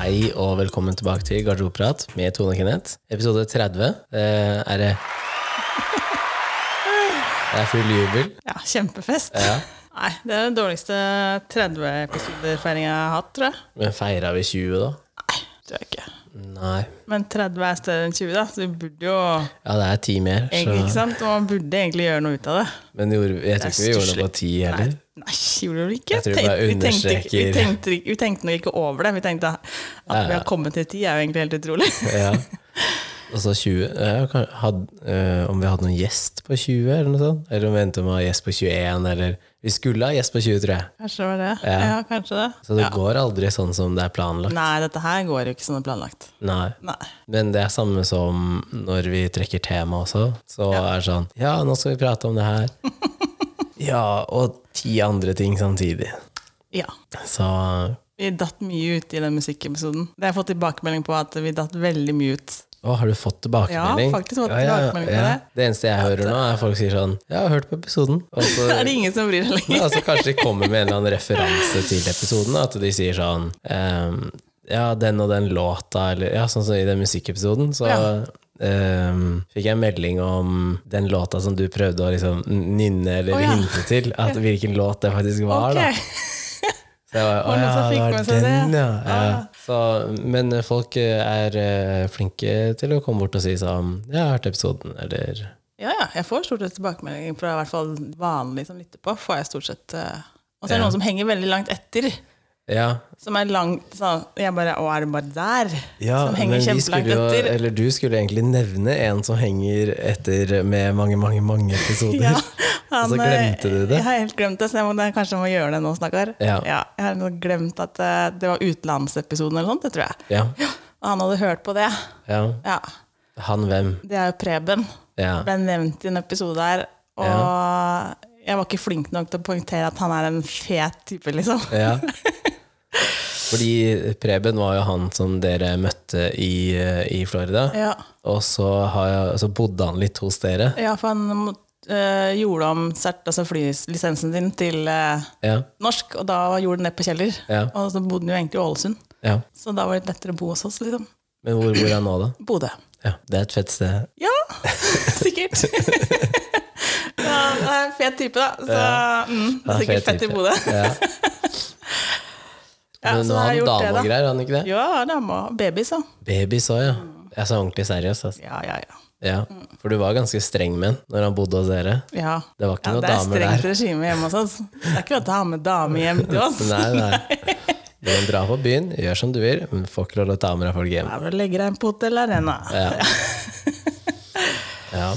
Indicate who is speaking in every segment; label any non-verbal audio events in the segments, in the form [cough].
Speaker 1: Hei og velkommen tilbake til Garderobeprat med Tone og Kenneth. Episode 30. Eh, er det Det er full jubel.
Speaker 2: Ja, kjempefest.
Speaker 1: Ja.
Speaker 2: [laughs] Nei, det er den dårligste 30-episoder-feiringa jeg har hatt, tror jeg.
Speaker 1: Men feira vi 20, da?
Speaker 2: Nei, tror jeg ikke.
Speaker 1: Nei.
Speaker 2: Men 30 er større enn 20, da, så vi burde jo
Speaker 1: Ja, det er ti mer.
Speaker 2: egentlig, ikke sant? Og man burde egentlig gjøre noe ut av det.
Speaker 1: Men gjorde, jeg tror ikke vi gjorde det på ti
Speaker 2: Nei,
Speaker 1: heller.
Speaker 2: nei gjorde vi ikke?
Speaker 1: Jeg tror vi bare
Speaker 2: Tenk- tenkte, ikke- vi,
Speaker 1: understreker-
Speaker 2: tenkte, ikke- vi tenkte nok ikke over det. Vi tenkte at vi har kommet til 10, er jo egentlig helt utrolig. [laughs]
Speaker 1: Ja. Og så 20 eh, kan- had, eh, Om vi hadde noen gjest på 20, eller noe sånt? Eller om vi endte med å ha gjest på 21, eller Vi skulle ha gjest på 20, tror jeg.
Speaker 2: Kanskje det var det.
Speaker 1: Ja.
Speaker 2: Ja, kanskje det.
Speaker 1: Så det går aldri sånn som det er planlagt.
Speaker 2: Nei, dette her går jo ikke som det er planlagt.
Speaker 1: Nei.
Speaker 2: Nei.
Speaker 1: Men det er samme som når vi trekker tema også. Så er det sånn Ja, nå skal vi prate om det
Speaker 2: [laughs]
Speaker 1: her. ja, og ti andre ting samtidig.
Speaker 2: Ja.
Speaker 1: Så
Speaker 2: Vi datt mye ut i den musikkepisoden. Det har jeg fått tilbakemelding på at vi datt veldig mye ut.
Speaker 1: å, har du fått tilbakemelding?
Speaker 2: Ja, faktisk fått tilbakemelding på det.
Speaker 1: Det eneste jeg hører nå, er folk sier sånn Ja, jeg har hørt på episoden. Og så,
Speaker 2: Er [laughs] det ingen som bryr seg lenger?
Speaker 1: ja, så altså, kanskje de kommer med en eller annen referanse til episoden. At de sier sånn ehm, Ja, den og den låta, eller ja, sånn som i den musikkepisoden. Så
Speaker 2: Ja.
Speaker 1: ehm, fikk jeg en melding om den låta som du prøvde å liksom nynne eller
Speaker 2: Å, ja.
Speaker 1: hinte til. At hvilken låt det faktisk var. da
Speaker 2: Ok. [laughs]
Speaker 1: så jeg bare,
Speaker 2: Var det noen som
Speaker 1: «Å ja,
Speaker 2: fikk
Speaker 1: det var
Speaker 2: med seg
Speaker 1: den,
Speaker 2: det?»
Speaker 1: ja. ja.
Speaker 2: Ah.
Speaker 1: Så, men folk eh, er eh, flinke til å komme bort og si sånn Jeg har hørt episoden, eller
Speaker 2: Ja, ja. Jeg får stort sett tilbakemeldinger fra i hvert fall vanlige som lytter på. får jeg stort sett... eh, Og så er det
Speaker 1: Ja.
Speaker 2: noen som henger veldig langt etter.
Speaker 1: Ja.
Speaker 2: Som er langt sånn Jeg bare Å, er det bare der?
Speaker 1: Ja,
Speaker 2: som
Speaker 1: men
Speaker 2: henger
Speaker 1: vi
Speaker 2: kjempelangt
Speaker 1: skulle jo,
Speaker 2: etter.
Speaker 1: eller du skulle egentlig nevne en som henger etter med mange, mange, mange episoder.
Speaker 2: [laughs] Ja,
Speaker 1: Og så
Speaker 2: han, eh,
Speaker 1: altså, glemte
Speaker 2: [laughs]
Speaker 1: du det.
Speaker 2: Jeg har helt glemt det, så jeg må, jeg kanskje må gjøre det nå, snakkar.
Speaker 1: Ja.
Speaker 2: jeg har nå glemt at eh, det var utenlandsepisoden eller sånt, det tror jeg.
Speaker 1: Ja,
Speaker 2: Og han hadde hørt på det.
Speaker 1: ja.
Speaker 2: Ja.
Speaker 1: Han hvem?
Speaker 2: Det er jo Preben.
Speaker 1: Ja.
Speaker 2: Ble nevnt i en episode her. Og jeg var ikke flink nok til å poengtere at han er en fet type, liksom.
Speaker 1: ja.
Speaker 2: [laughs]
Speaker 1: Fordi Preben var jo han som dere møtte i, eh, i Florida.
Speaker 2: Ja,
Speaker 1: Og så, har jeg, så bodde han litt hos dere.
Speaker 2: ja for han eh, gjorde om cert, altså flylisensen sin til eh,
Speaker 1: Ja,
Speaker 2: norsk, og da gjorde han det på Kjeller.
Speaker 1: Ja.
Speaker 2: Og så bodde han jo egentlig i Ålesund,
Speaker 1: ja.
Speaker 2: så da var det lettere å bo hos oss, liksom.
Speaker 1: Men hvor bor han nå, da?
Speaker 2: Bodø.
Speaker 1: Ja, det er et fett sted.
Speaker 2: Ja, [laughs] sikkert.
Speaker 1: [laughs]
Speaker 2: ja, han er en fet type, da. Så mm, det
Speaker 1: Han
Speaker 2: er
Speaker 1: er
Speaker 2: sikkert
Speaker 1: fet
Speaker 2: fett i
Speaker 1: type.
Speaker 2: Bodø.
Speaker 1: Ja.
Speaker 2: [laughs] Ja,
Speaker 1: Men
Speaker 2: så
Speaker 1: nå
Speaker 2: da
Speaker 1: har
Speaker 2: har
Speaker 1: han
Speaker 2: jeg gjort det,
Speaker 1: dame og
Speaker 2: da.
Speaker 1: greier, har han ikke det?
Speaker 2: Ja, dama. Baby, så.
Speaker 1: Baby så, ja. Jeg sa ordentlig seriøst. Altså.
Speaker 2: Ja, ja, ja.
Speaker 1: Ja. For du var ganske streng med han når han bodde hos dere.
Speaker 2: Ja.
Speaker 1: Det var ikke
Speaker 2: ja,
Speaker 1: noen
Speaker 2: det er
Speaker 1: damer
Speaker 2: strengt
Speaker 1: der.
Speaker 2: regime hjemme hos oss. Det er ikke lov til å ha med dame hjem til oss.
Speaker 1: Nei, nei. Du kan dra på byen, gjør som du vil, men får ikke lov til å ta med deg folk hjem.
Speaker 2: Da vil du legge deg inn på hotell arena.
Speaker 1: Ja. Ja.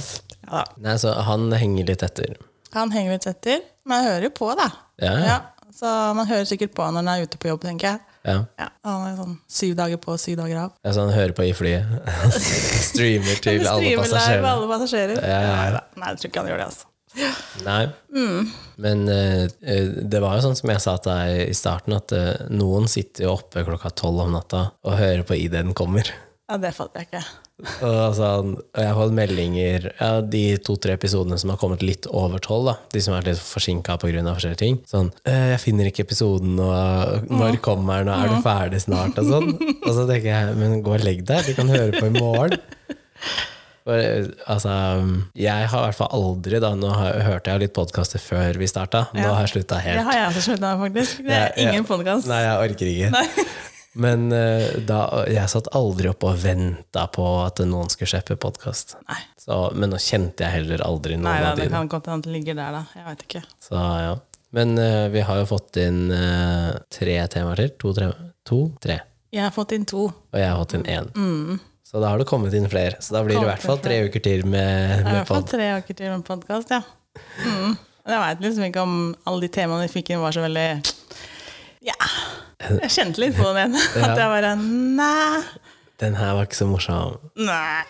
Speaker 2: Ja.
Speaker 1: Nei, så han henger litt etter.
Speaker 2: Han henger litt etter, men jeg hører jo på, da.
Speaker 1: Ja, ja.
Speaker 2: Ja, så man hører sikkert på han når han er ute på jobb, tenker jeg.
Speaker 1: ja.
Speaker 2: Ja, han er sånn syv dager på, syv dager av.
Speaker 1: Altså, han hører på i flyet. Streamer til alle
Speaker 2: Streamer live
Speaker 1: passasjerene.
Speaker 2: alle passasjerer.
Speaker 1: Ja, ja, ja.
Speaker 2: Nei, jeg tror ikke han gjør det, altså.
Speaker 1: Nei.
Speaker 2: Mm.
Speaker 1: Men eh, eh, det var jo sånn som jeg sa til deg i starten, at eh, noen sitter jo oppe klokka tolv om natta og hører på ID den kommer.
Speaker 2: Ja, det fatter jeg ikke.
Speaker 1: Og, sånn, og jeg har fått meldinger ja, De to-tre episodene som har kommet litt over tolv, da, de som har vært litt forsinka pga. forskjellige ting. Sånn «Eh, 'Jeg finner ikke episoden, og øh, når kommer den, og er du ferdig snart?' Og sånn. Og så tenker jeg 'Men gå og legg deg, du kan høre på i morgen'. For, eh, altså, jeg har i hvert fall aldri da, Nå har, hørte jeg jo litt podkaster før vi starta. Nå har jeg slutta helt.
Speaker 2: Det har jeg også sluttet med, faktisk. Det
Speaker 1: Ja,
Speaker 2: er
Speaker 1: ja.
Speaker 2: ingen podkast.
Speaker 1: Nei, jeg orker ikke. [laughs] Men eh, da, jeg satt aldri oppe og venta på at noen skulle slippe podkast.
Speaker 2: Nei.
Speaker 1: Men nå kjente jeg heller aldri noen
Speaker 2: Nei, nei,
Speaker 1: av
Speaker 2: det
Speaker 1: de.
Speaker 2: kan godt hende han ligger der, da. Jeg vet ikke.
Speaker 1: Så, ja. Men eh, vi har jo fått inn eh, tre temaer til. To, tre. to, tre.
Speaker 2: Jeg har fått inn to.
Speaker 1: Og jeg har fått inn én.
Speaker 2: Mm.
Speaker 1: Så da har det kommet inn flere. Så da blir det i hvert fall tre uker til med,
Speaker 2: Det er i
Speaker 1: med
Speaker 2: hvert fall
Speaker 1: pod.
Speaker 2: tre uker til med podkast, ja. Mm. Jeg veit liksom ikke om alle de temaene vi fikk inn, var så veldig Ja. Jeg kjente litt på
Speaker 1: [laughs]
Speaker 2: den ene. At jeg bare Nei.
Speaker 1: Den her var ikke så morsom.
Speaker 2: Nei.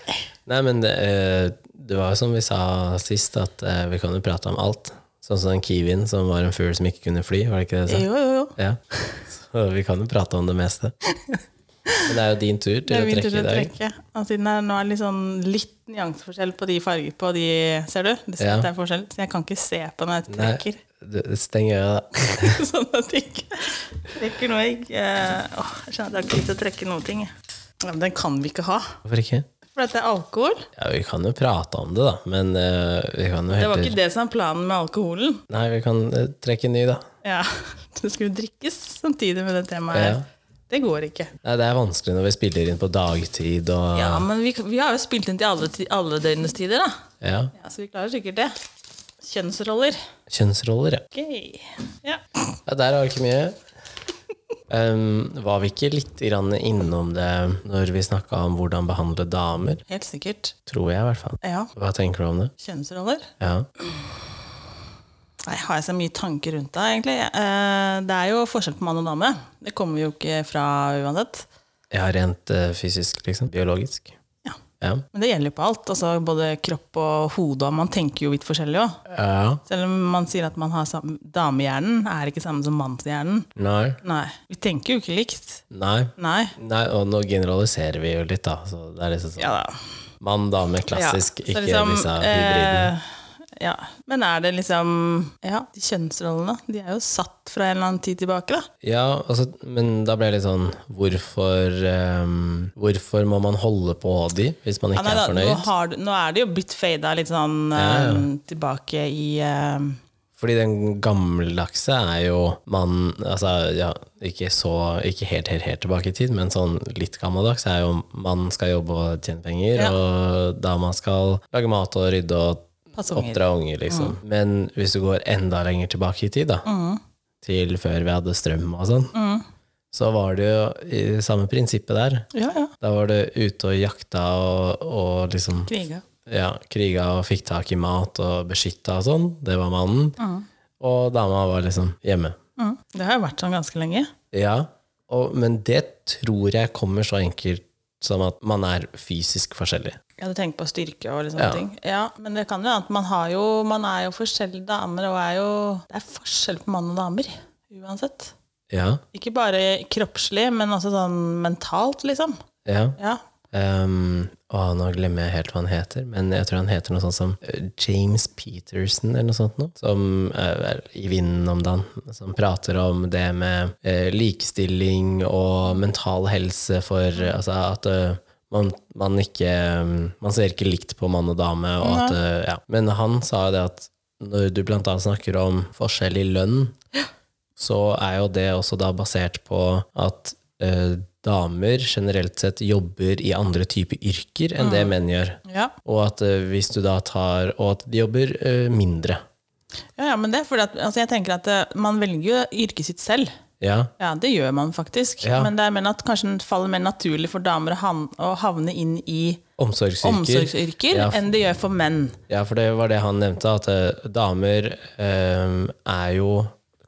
Speaker 1: Nei, men det, eh, det var jo som vi sa sist, at eh, vi kan jo prate om alt. Sånn som den kiwien som var en fugl som ikke kunne fly, var det ikke det du sa?
Speaker 2: Jo, jo, jo.
Speaker 1: Ja. [laughs] Så vi kan jo prate om det meste. Men det er jo din tur
Speaker 2: Det
Speaker 1: til
Speaker 2: er
Speaker 1: å
Speaker 2: min tur
Speaker 1: trekke
Speaker 2: til
Speaker 1: i
Speaker 2: å
Speaker 1: dag.
Speaker 2: trekke. Og siden det er- nå er litt sånn litt nyanseforskjell på de farger på de Ser du? Det
Speaker 1: Ja.
Speaker 2: er forskjell. Så jeg kan ikke se på når jeg
Speaker 1: Nei,
Speaker 2: trekker. [laughs]
Speaker 1: Du- Steng øya, da.
Speaker 2: sånn at jeg ikke trekker noe egg. Eh, åh, jeg kjenner at jeg har ikke lyst til å trekke noen ting. jeg. Ja, men den kan vi ikke ha,
Speaker 1: Hvorfor ikke?
Speaker 2: for dette er alkohol.
Speaker 1: Ja, vi kan jo prate om det, da, men eh, vi kan jo
Speaker 2: Det var
Speaker 1: heller
Speaker 2: ikke det som er planen med alkoholen.
Speaker 1: Nei, vi kan eh, trekke en ny, da.
Speaker 2: Ja, [laughs] Det skulle drikkes samtidig med det temaet her.
Speaker 1: Ja.
Speaker 2: Det går ikke.
Speaker 1: Nei, det er vanskelig når vi spiller inn på dagtid og
Speaker 2: Ja, Men vi, vi har jo spilt inn til alle, ti- alle døgnets tider, da.
Speaker 1: Ja.
Speaker 2: Ja, Så vi klarer sikkert det. Kjønnsroller.
Speaker 1: Kjønnsroller, ja.
Speaker 2: Gøy. Ja.
Speaker 1: ja. Der har vi ikke mye. Ehm, var vi ikke litt grann innom det når vi snakka om hvordan behandle damer?
Speaker 2: Helt sikkert.
Speaker 1: Tror jeg, i hvert fall.
Speaker 2: Ja.
Speaker 1: Hva tenker du om det?
Speaker 2: Kjønnsroller.
Speaker 1: Ja.
Speaker 2: Nei, har jeg så mye tanker rundt det, egentlig? Eh, det er jo forskjell på mann og dame. Det kommer vi jo ikke fra uansett.
Speaker 1: ja rent eh, fysisk, liksom. Biologisk.
Speaker 2: Ja.
Speaker 1: Ja.
Speaker 2: Men det gjelder jo på alt. Altså, både kropp og hode. og Man tenker jo vidt forskjellig òg.
Speaker 1: ja.
Speaker 2: Selv om man sier at man har sam- damehjernen, er det ikke samme som mannshjernen.
Speaker 1: Nei.
Speaker 2: Nei. Vi tenker jo ikke likt.
Speaker 1: Nei.
Speaker 2: Nei.
Speaker 1: Nei, og nå generaliserer vi jo litt, da. Så det er liksom sånn
Speaker 2: Ja da.
Speaker 1: mann, dame, klassisk,
Speaker 2: Ja, så
Speaker 1: ikke
Speaker 2: liksom,
Speaker 1: disse hybridene.
Speaker 2: eh, ja. Men er det liksom Ja, de kjønnsrollene de er jo satt fra en eller annen tid tilbake, da.
Speaker 1: Ja, altså, men da ble jeg litt sånn Hvorfor, ehm, hvorfor må man holde på de hvis man ikke
Speaker 2: Ja, nei, da
Speaker 1: er
Speaker 2: nå,
Speaker 1: fornøyd?
Speaker 2: har, du- nå er det jo blitt fada litt sånn
Speaker 1: Ja, ja.
Speaker 2: eh, tilbake i eh,
Speaker 1: Fordi den gammeldagse er jo mann Altså, ja, ikke så Ikke helt, helt, helt tilbake i tid, men sånn litt gammeldags er jo mann skal jobbe og tjene penger,
Speaker 2: Ja.
Speaker 1: og dama skal lage mat og rydde og
Speaker 2: Passe unger. Mm.
Speaker 1: oppdra unger, liksom. Men hvis du går enda lenger tilbake i tid, da, til før vi hadde strøm og sånn,
Speaker 2: Mm.
Speaker 1: så var det jo i samme prinsippet der.
Speaker 2: Ja, ja.
Speaker 1: Da var det ute og jakta og, og liksom
Speaker 2: Kriga.
Speaker 1: ja, kriga og fikk tak i mat og beskytta og sånn. Det var mannen. Og dama var liksom hjemme.
Speaker 2: Mm. Det har jo vært sånn ganske lenge.
Speaker 1: Ja, og, men det tror jeg kommer så enkelt som at man er fysisk forskjellig.
Speaker 2: Ja, du tenker på styrke og liksom
Speaker 1: Ja.
Speaker 2: ting. Ja, men det kan jo være at man har jo Man er jo forskjellige damer, og er jo Det er forskjell på mann og damer. Uansett.
Speaker 1: Ja,
Speaker 2: Ikke bare kroppslig, men også sånn mentalt, liksom.
Speaker 1: ja.
Speaker 2: Ja.
Speaker 1: Um, å, nå glemmer jeg helt hva han heter, men jeg tror han heter noe sånt som eh, James Peterson eller noe sånt noe, som eh, er i vinden om dagen, som prater om det med eh, likestilling og mental helse for eh, altså at eh, man, man ikke eh, Man ser ikke likt på mann og dame, og at eh, Ja. Men han sa jo det at når du blant annet snakker om forskjell i lønn, så er jo det også da basert på at eh, damer generelt sett jobber i andre typer yrker enn det menn gjør.
Speaker 2: Mm. Ja.
Speaker 1: Og at eh, hvis du da tar Og at de jobber eh, mindre.
Speaker 2: ja, ja, men det er fordi at altså, jeg tenker at eh, man velger jo yrket sitt selv.
Speaker 1: Ja.
Speaker 2: Ja, det gjør man faktisk.
Speaker 1: Ja.
Speaker 2: Men det er mer at kanskje det faller mer naturlig for damer å han- å havne inn i
Speaker 1: Omsorgsyrker.
Speaker 2: omsorgsyrker
Speaker 1: Ja,
Speaker 2: enn det gjør for menn.
Speaker 1: ja, for det var det han nevnte, at eh, damer eh, er jo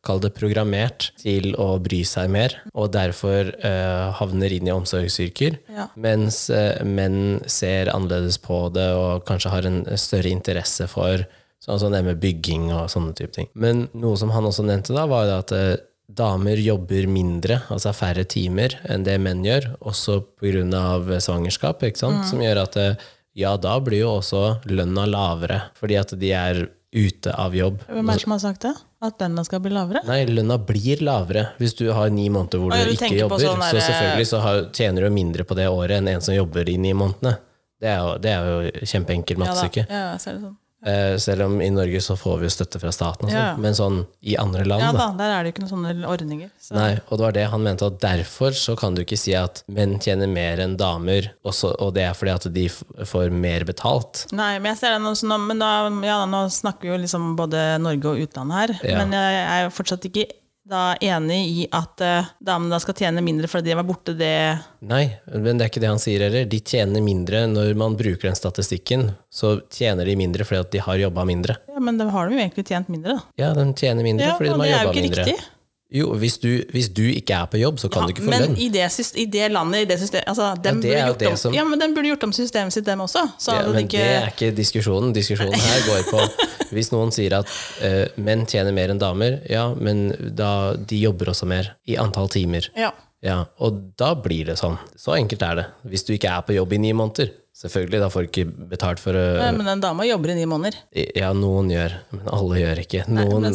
Speaker 1: Kall det programmert til å bry seg mer, og derfor eh, havner inn i omsorgsyrker.
Speaker 2: Ja.
Speaker 1: Mens eh, menn ser annerledes på det og kanskje har en større interesse for sånn som det med bygging og sånne type ting. Men noe som han også nevnte da, var jo at eh, damer jobber mindre, altså færre timer enn det menn gjør, også pga. svangerskap, ikke sant? som gjør at eh, ja, da blir jo også lønna lavere, fordi at de er ute av jobb.
Speaker 2: Hvem er det som har sagt det? At lønna skal bli lavere?
Speaker 1: Nei, lønna blir lavere hvis du har ni måneder hvor
Speaker 2: Å, ja,
Speaker 1: du
Speaker 2: du
Speaker 1: ikke
Speaker 2: tenker på
Speaker 1: jobber.
Speaker 2: sånn der-
Speaker 1: Så selvfølgelig så har, tjener du mindre på det året enn en som jobber de ni månedene. Det er jo, det er jo kjempeenkelt
Speaker 2: Ja, da.
Speaker 1: mattestykke.
Speaker 2: Ja, ja, så er det sånn.
Speaker 1: Eh, selv om i Norge så får vi jo støtte fra staten og sånn,
Speaker 2: Ja.
Speaker 1: men sånn i andre land,
Speaker 2: ja
Speaker 1: da.
Speaker 2: da, der er det jo ikke noen sånne ordninger. Så.
Speaker 1: Nei, og det var det han mente, at derfor så kan du ikke si at menn tjener mer enn damer, og, så, og det er fordi at de f får mer betalt.
Speaker 2: Nei, men jeg ser det nå, så nå, men da, ja, da, nå snakker vi jo liksom både Norge og utlandet her,
Speaker 1: Ja.
Speaker 2: men jeg er jo fortsatt ikke da enig i at eh, damene da skal tjene mindre fordi de var borte det
Speaker 1: Nei, men det er ikke det han sier heller. De tjener mindre når man bruker den statistikken, så tjener de mindre fordi at de har jobba mindre.
Speaker 2: Ja, men da har de jo egentlig tjent mindre, da.
Speaker 1: Ja, de tjener mindre fordi
Speaker 2: og
Speaker 1: de
Speaker 2: det
Speaker 1: har
Speaker 2: er jo
Speaker 1: jobba
Speaker 2: ikke
Speaker 1: mindre.
Speaker 2: riktig.
Speaker 1: Jo, hvis du, hvis du ikke er på jobb, så kan du ikke få
Speaker 2: men
Speaker 1: lønn.
Speaker 2: i det, sys- i det landet, i det systemet altså, dem
Speaker 1: det er
Speaker 2: burde
Speaker 1: jo
Speaker 2: gjort
Speaker 1: det
Speaker 2: om,
Speaker 1: som-
Speaker 2: Ja, men de burde gjort om systemet sitt, dem også. Så
Speaker 1: Ja,
Speaker 2: hadde det
Speaker 1: men
Speaker 2: ikke
Speaker 1: det er ikke diskusjonen. Diskusjonen her går
Speaker 2: [laughs]
Speaker 1: på hvis noen sier at eh, menn tjener mer enn damer, ja, men da de jobber også mer i antall timer.
Speaker 2: ja.
Speaker 1: Ja, og da blir det sånn. Så enkelt er det. Hvis du ikke er på jobb i ni måneder, selvfølgelig, da får du ikke betalt for å
Speaker 2: Nei, Men den dama jobber i ni måneder.
Speaker 1: Ja, noen gjør, men alle gjør ikke. Noen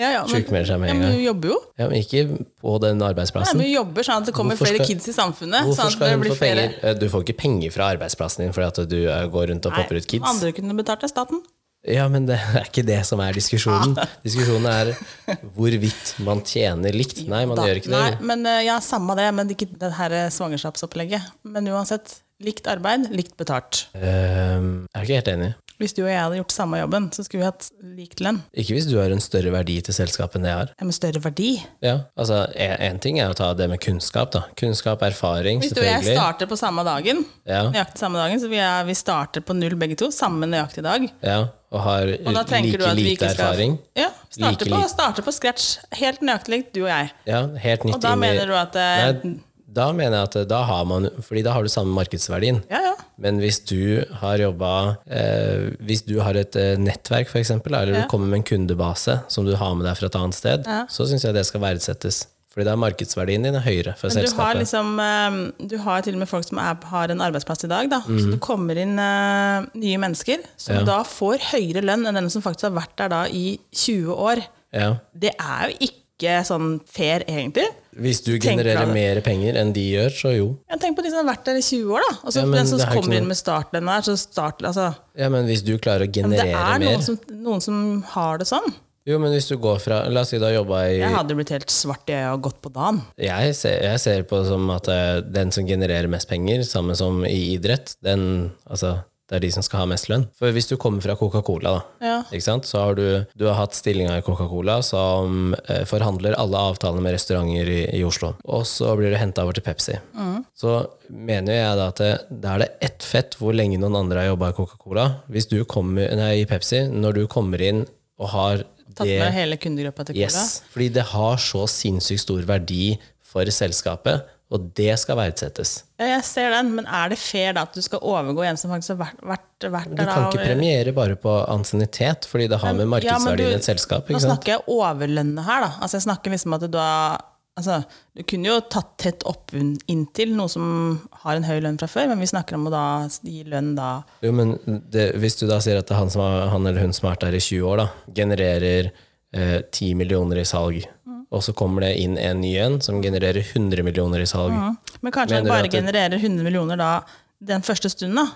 Speaker 2: Ja, ja, men,
Speaker 1: Sjukmelder seg med
Speaker 2: ja,
Speaker 1: en
Speaker 2: men
Speaker 1: gang.
Speaker 2: du jobber jo.
Speaker 1: Ja, men ikke på den
Speaker 2: Nei,
Speaker 1: arbeidsplassen.
Speaker 2: men du jobber sånn at det kommer
Speaker 1: Hvorfor
Speaker 2: flere
Speaker 1: skal-
Speaker 2: kids i samfunnet.
Speaker 1: Hvorfor
Speaker 2: sånn at
Speaker 1: skal
Speaker 2: det
Speaker 1: hun
Speaker 2: blir
Speaker 1: få
Speaker 2: flere...
Speaker 1: penger? Eh, Du får ikke penger fra arbeidsplassen din fordi at du eh, går rundt og popper ut kids.
Speaker 2: Andre kunne betalt av staten.
Speaker 1: Ja, men det er ikke det som er diskusjonen.
Speaker 2: [laughs]
Speaker 1: Diskusjonen er hvorvidt man tjener likt. Nei, man
Speaker 2: Da.
Speaker 1: gjør ikke det.
Speaker 2: Nei, men eh, ja, samme det, men ikke det her eh, svangerskapsopplegget. Men uansett, likt arbeid, likt betalt.
Speaker 1: Ehm, jeg er ikke helt enig.
Speaker 2: Hvis du og jeg hadde gjort samme jobben, så skulle vi hatt likt lønn.
Speaker 1: Ikke hvis du har en større verdi til selskapet enn det jeg har.
Speaker 2: Det er med større verdi.
Speaker 1: Ja, altså, Én ting er å ta det med kunnskap. da. Kunnskap, erfaring,
Speaker 2: Hvis du og jeg
Speaker 1: selvfølgelig.
Speaker 2: starter på samme dagen,
Speaker 1: Ja,
Speaker 2: nøyaktig samme dagen, så vi, er, vi starter på null begge to, samme nøyaktig dag.
Speaker 1: ja, og har
Speaker 2: Og da tenker du
Speaker 1: like
Speaker 2: at vi
Speaker 1: lite
Speaker 2: ikke skal-
Speaker 1: erfaring.
Speaker 2: Ja,
Speaker 1: Like
Speaker 2: starter på,
Speaker 1: lite.
Speaker 2: starter på scratch. Helt nøyaktig likt, du og jeg.
Speaker 1: Ja, helt nytt
Speaker 2: Og da
Speaker 1: inn i
Speaker 2: mener du at eh,
Speaker 1: Nei, Da mener jeg at eh, da har man Fordi da har du samme markedsverdien.
Speaker 2: Ja, ja.
Speaker 1: Men hvis du har jobba eh, Hvis du har et eh, nettverk, for eksempel, eller du kommer med en kundebase som du har med deg fra et annet sted, så syns jeg det skal verdsettes. Fordi da er markedsverdien din er høyere for
Speaker 2: Men du har
Speaker 1: selskapet.
Speaker 2: liksom eh, Du har til og med folk som er, har en arbeidsplass i dag, da.
Speaker 1: Mhm.
Speaker 2: Så det kommer inn eh, nye mennesker som da får høyere lønn enn den som faktisk har vært der da i 20 år.
Speaker 1: Ja.
Speaker 2: Det er jo ikke sånn fair, egentlig.
Speaker 1: Hvis du
Speaker 2: Tenk
Speaker 1: genererer
Speaker 2: deg det.
Speaker 1: mer penger enn de gjør, så jo.
Speaker 2: Ja, tenk på de som har vært der i 20 år, da. Og så
Speaker 1: Ja, men
Speaker 2: den som
Speaker 1: det er jo ikke
Speaker 2: kommer
Speaker 1: noe-
Speaker 2: inn med startlønn her, så start, altså,
Speaker 1: Ja, men hvis du klarer å
Speaker 2: Det
Speaker 1: generere
Speaker 2: er noen
Speaker 1: mer
Speaker 2: som, noen som har det sånn.
Speaker 1: Jo, men hvis du går fra La oss si du har jobba i
Speaker 2: Jeg hadde blitt helt svart i øya og gått på dagen.
Speaker 1: jeg ser, jeg ser på det som at eh, den som genererer mest penger, samme som i idrett, den, altså, det er de som skal ha mest lønn. For hvis du kommer fra Coca-Cola, da,
Speaker 2: Ja.
Speaker 1: ikke sant? så har du, du har hatt stillinga i Coca-Cola som eh, forhandler alle avtalene med restauranter i, i Oslo. Og så blir du henta over til Pepsi.
Speaker 2: Mm.
Speaker 1: Så mener jeg da at det, da er det ett fett hvor lenge noen andre har jobba i Coca-Cola. Hvis du kommer, nei, i Pepsi, når du kommer inn og har
Speaker 2: Tatt
Speaker 1: det
Speaker 2: med hele kundegruppa til Cola.
Speaker 1: Yes, fordi det har så sinnssykt stor verdi for selskapet, og det skal verdsettes.
Speaker 2: Ja, jeg ser den, men er det fair da at du skal overgå en som faktisk har vært, vært, vært
Speaker 1: Du
Speaker 2: der?
Speaker 1: kan
Speaker 2: da,
Speaker 1: ikke
Speaker 2: og-
Speaker 1: premiere bare på ansiennitet, fordi det har med
Speaker 2: Ja, men du-
Speaker 1: markedsverdien i et selskap.
Speaker 2: Nå
Speaker 1: Ikke sant?
Speaker 2: snakker jeg overlønnet her, da. Altså, jeg snakker liksom at du har Altså, du kunne jo tatt tett opp un- inntil noe som har en høy lønn fra før, men vi snakker om å da gi lønn da
Speaker 1: Jo, men det, hvis du da sier at det er han, som har, han eller hun som har vært der i 20 år, da, genererer eh, 10 millioner i salg, og så kommer det inn en ny en som genererer 100 millioner i salg.
Speaker 2: Men kanskje
Speaker 1: Mener
Speaker 2: han
Speaker 1: du
Speaker 2: bare
Speaker 1: at det-
Speaker 2: genererer 100 millioner da den første stunden, da.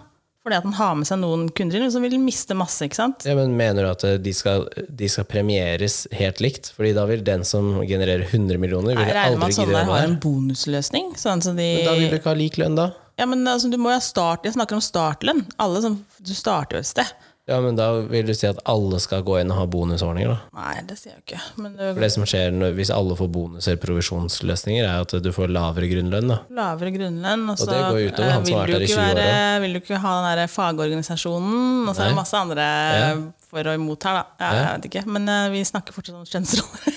Speaker 2: Fordi at han har med seg noen kunder inn, så vil han miste masse, ikke sant.
Speaker 1: Ja, men Mener du at eh, de skal, de skal premieres helt likt? Fordi da vil den som genererer 100 millioner,
Speaker 2: Jeg
Speaker 1: vil
Speaker 2: regner med
Speaker 1: aldri
Speaker 2: at
Speaker 1: gidde å
Speaker 2: sånne der
Speaker 1: jobbe
Speaker 2: har
Speaker 1: der.
Speaker 2: en bonusløsning. Sånn som de
Speaker 1: sånn, Da vil du ikke ha lik lønn, da?
Speaker 2: Ja, men altså, du må jo ha start, Jeg snakker om startlønn. Alle som, du starter jo et sted.
Speaker 1: Ja, men da vil du si at alle skal gå inn og ha bonusordninger, da.
Speaker 2: Nei, det sier jeg jo ikke. Men
Speaker 1: For
Speaker 2: det
Speaker 1: det som skjer når, hvis alle får bonuser, provisjonsløsninger, er at du får lavere grunnlønn, da.
Speaker 2: er lavere grunnlønn. Og, så,
Speaker 1: det går jo utover han
Speaker 2: eh,
Speaker 1: som har vært
Speaker 2: vil
Speaker 1: der
Speaker 2: du
Speaker 1: i
Speaker 2: ikke
Speaker 1: 20 år,
Speaker 2: være- Vil du ikke ha den der fagorganisasjonen? Og så er det masse andre eh, for og imot her, da. Ja, jeg vet ikke. Men eh, vi snakker fortsatt om kjønnsroller.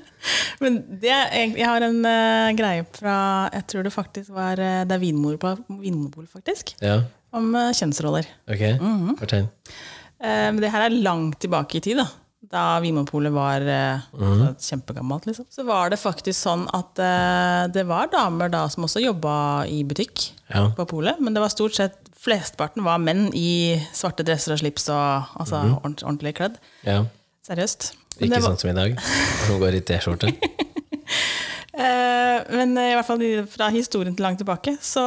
Speaker 2: [laughs] men det er egentlig Jeg har en eh, greie fra Jeg tror det faktisk var eh, Det er Vinmonopol, Vinmonopol faktisk.
Speaker 1: Ja,
Speaker 2: Om eh, kjønnsroller.
Speaker 1: ok.
Speaker 2: Mhm.
Speaker 1: Fortell.
Speaker 2: Eh, Men det her er langt tilbake i tid, da. Da Vinmonopolet var eh,
Speaker 1: Mhm.
Speaker 2: altså, kjempegammelt, liksom. Så var det faktisk sånn at eh, det var damer da som også jobba i butikk
Speaker 1: Ja.
Speaker 2: på polet, men det var stort sett Flesteparten var menn i svarte dresser og slips og altså, ordent- ordentlig kledd.
Speaker 1: ja.
Speaker 2: Seriøst. Men,
Speaker 1: Mhm. Ikke
Speaker 2: det var,
Speaker 1: sånn som i dag, [laughs] som går i
Speaker 2: [laughs]
Speaker 1: T-skjorte.
Speaker 2: eh, men eh, i hvert fall i- fra historien til langt tilbake, så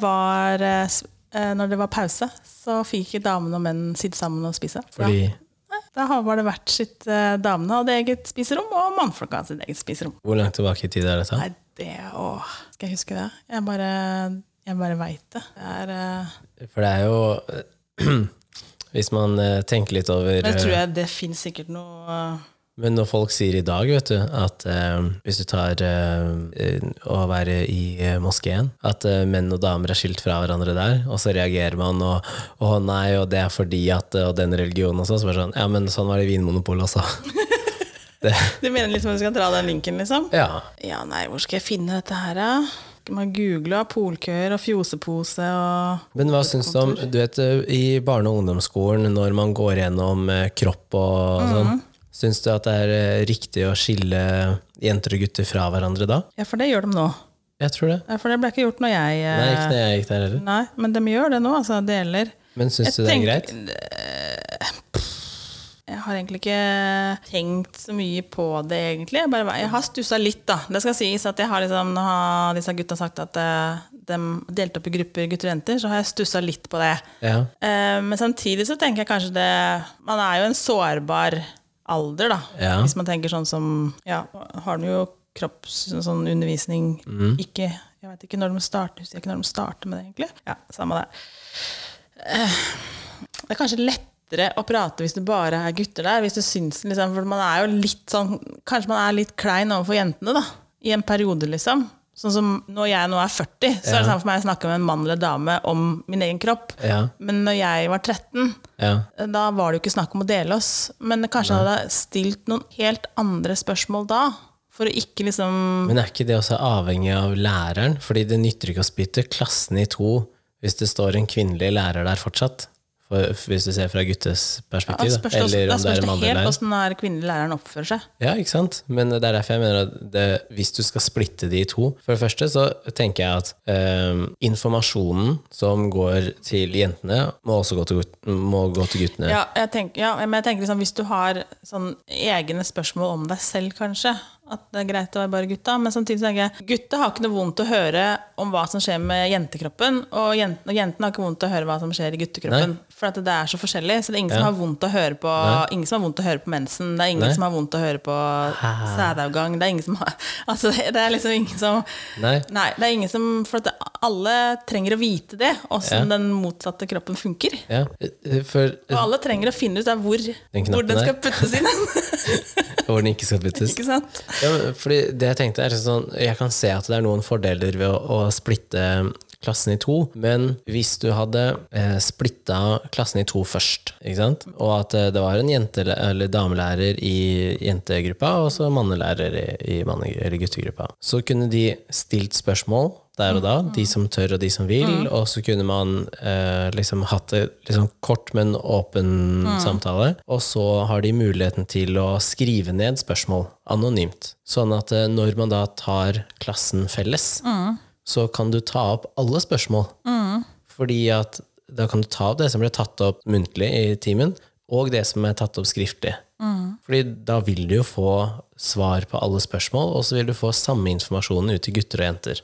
Speaker 2: var eh, s- eh, Når det var pause, så fikk ikke damene og menn sitte sammen og spise.
Speaker 1: Fordi
Speaker 2: Nei, Da har var det hvert sitt eh, Damene hadde eget spiserom, og mannfolka hadde sitt eget spiserom.
Speaker 1: Hvor langt tilbake i tid er dette?
Speaker 2: Nei, det åh. Skal jeg huske det? Jeg bare, jeg bare veit det. det er, eh,
Speaker 1: For det er jo [clears throat] Hvis man eh, tenker litt over
Speaker 2: men
Speaker 1: eh,
Speaker 2: jeg tror jeg det fins sikkert noe eh,
Speaker 1: Men når folk sier i dag, vet du, at eh, hvis du tar eh, eh, å være i eh, moskeen, at eh, menn og damer er skilt fra hverandre der, og så reagerer man og 'å nei, og det er fordi at eh, og den religionen' og sånn, så bare sånn 'ja, men sånn var det i Vinmonopolet også'.
Speaker 2: Du mener liksom at du skal dra den linken, liksom?
Speaker 1: [laughs] ja.
Speaker 2: Ja, nei, hvor skal jeg finne dette her, da? Skal man google polkøer og fjosepose og
Speaker 1: Men hva syns du om du vet, eh, i barne- og ungdomsskolen, når man går gjennom eh, kropp og sånn, syns du at det er eh, riktig å skille jenter og gutter fra hverandre da?
Speaker 2: Ja, for det gjør de nå.
Speaker 1: Jeg tror det.
Speaker 2: Ja, For det ble ikke gjort når jeg eh,
Speaker 1: Nei, ikke når jeg gikk der heller.
Speaker 2: Nei, men de gjør det nå, altså. Deler.
Speaker 1: Men syns
Speaker 2: Jeg
Speaker 1: du det er
Speaker 2: tenker-
Speaker 1: greit?
Speaker 2: Jeg har egentlig ikke tenkt så mye på det, egentlig. Jeg, bare, jeg har stussa litt, da. Det skal sies at jeg har liksom, Nå har disse gutta sagt at eh, de delte opp i grupper, gutter og jenter, så har jeg stussa litt på det.
Speaker 1: Ja.
Speaker 2: Eh, Men samtidig så tenker jeg kanskje det Man er jo en sårbar alder, da.
Speaker 1: Ja.
Speaker 2: Hvis man tenker sånn som Ja, har de jo kroppsundervisning sånn undervisning Ikke Jeg vet ikke når de starter, husker jeg ikke når de starter med det, egentlig. Ja, samme det. Eh, Det er kanskje lettere å prate hvis du bare er gutter der. Hvis du syns, liksom, for man er jo litt sånn, Kanskje man er litt klein overfor jentene da, i en periode, liksom. Sånn som Når jeg nå er 40, så er det samme for meg å snakke med en mann eller dame om min egen kropp.
Speaker 1: Ja.
Speaker 2: Men når jeg var 13,
Speaker 1: Ja.
Speaker 2: da var det jo ikke snakk om å dele oss. Men kanskje jeg hadde stilt noen helt andre spørsmål da, for å ikke liksom
Speaker 1: Men er ikke det også avhengig av læreren? Fordi det nytter ikke å spytte klassen i to hvis det står en kvinnelig lærer der fortsatt. For, hvis du ser fra guttes
Speaker 2: Da
Speaker 1: perspektiv.
Speaker 2: spørs
Speaker 1: da.
Speaker 2: det,
Speaker 1: Eller
Speaker 2: da
Speaker 1: om det
Speaker 2: spørs
Speaker 1: er en
Speaker 2: det
Speaker 1: mannlig
Speaker 2: helt
Speaker 1: lærer.
Speaker 2: hvordan den her kvinnelige læreren oppfører seg.
Speaker 1: Ja, ikke sant? Men det er derfor jeg mener at det, hvis du skal splitte de i to For det første så tenker jeg at eh, informasjonen som går til jentene, må også gå til, gut- må gå til guttene.
Speaker 2: Ja, jeg tenker, ja, men jeg tenker liksom, hvis du har sånn egne spørsmål om deg selv, kanskje, at det er greit å være bare gutta, men samtidig så tenker jeg gutta har ikke noe vondt å høre om hva som skjer med jentekroppen, og jentene, og jentene har ikke vondt å høre hva som skjer i guttekroppen. For at det er så forskjellig, så det er ingen, som, har vondt å høre på, ingen som har vondt å høre på mensen, det er ingen
Speaker 1: Nei.
Speaker 2: som har vondt å høre på sædavgang, det er ingen som har [laughs] Altså, det er liksom ingen som
Speaker 1: Nei?
Speaker 2: Nei, det er ingen som For at det- alle trenger å vite det, åssen den motsatte kroppen funker.
Speaker 1: Ja. For
Speaker 2: Og alle trenger å finne ut av hvor den,
Speaker 1: knappen
Speaker 2: hvor den
Speaker 1: der.
Speaker 2: skal puttes inn.
Speaker 1: [laughs] hvor den ikke skal byttes.
Speaker 2: ikke sant?
Speaker 1: Ja, men fordi det jeg tenkte er sånn, jeg kan se at det er noen fordeler ved å, å splitte klassen i to, men hvis du hadde eh, splitta klassen i to først, ikke sant? og at eh, det var en jente- eller damelærer i jentegruppa, og så mannelærer i, i manne- eller guttegruppa, så kunne de stilt spørsmål der og da, de som tør og de som vil, og så kunne man eh, liksom hatt det liksom kort, men åpen samtale. Og så har de muligheten til å skrive ned spørsmål anonymt. Sånn at eh, når man da tar klassen felles, så kan du ta opp alle spørsmål. Fordi at da kan du ta opp det som ble tatt opp muntlig i timen, og det som er tatt opp skriftlig. Fordi da vil du jo få svar på alle spørsmål, og så vil du få samme informasjonen ut til gutter og jenter.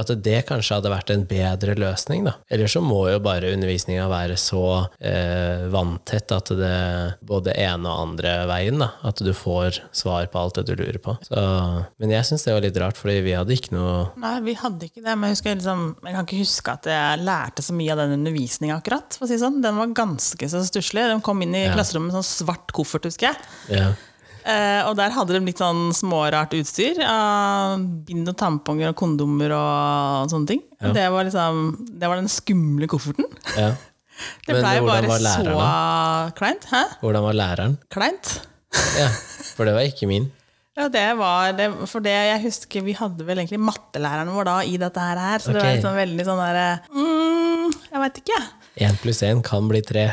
Speaker 1: At det kanskje hadde vært en bedre løsning, da. Eller så må jo bare undervisninga være så eh, vanntett at det både ene og andre veien, da. At du får svar på alt det du lurer på. Så, men jeg syns det var litt rart, fordi vi hadde ikke noe
Speaker 2: Nei, vi hadde ikke det. Men jeg, husker, liksom, jeg kan ikke huske at jeg lærte så mye av den undervisninga akkurat. For å si det sånn. Den var ganske så stusslig. De kom inn i klasserommet med sånn svart koffert, husker jeg.
Speaker 1: ja.
Speaker 2: Eh, og der hadde de litt sånn smårart utstyr. av bind og tamponger og kondomer og sånne ting. Det, var liksom, det var den skumle kofferten.
Speaker 1: ja.
Speaker 2: Det
Speaker 1: Men
Speaker 2: blei
Speaker 1: hvordan
Speaker 2: bare
Speaker 1: var
Speaker 2: så
Speaker 1: læreren
Speaker 2: kleint. Hæ?
Speaker 1: Hvordan var læreren?
Speaker 2: Kleint?
Speaker 1: Ja, for det var ikke min.
Speaker 2: Ja, det var det, For det jeg husker, vi hadde vel egentlig mattelæreren vår da i dette her. Så det var
Speaker 1: Ok.
Speaker 2: liksom veldig sånn derre mm, Jeg veit ikke, jeg.
Speaker 1: Én pluss én kan bli tre.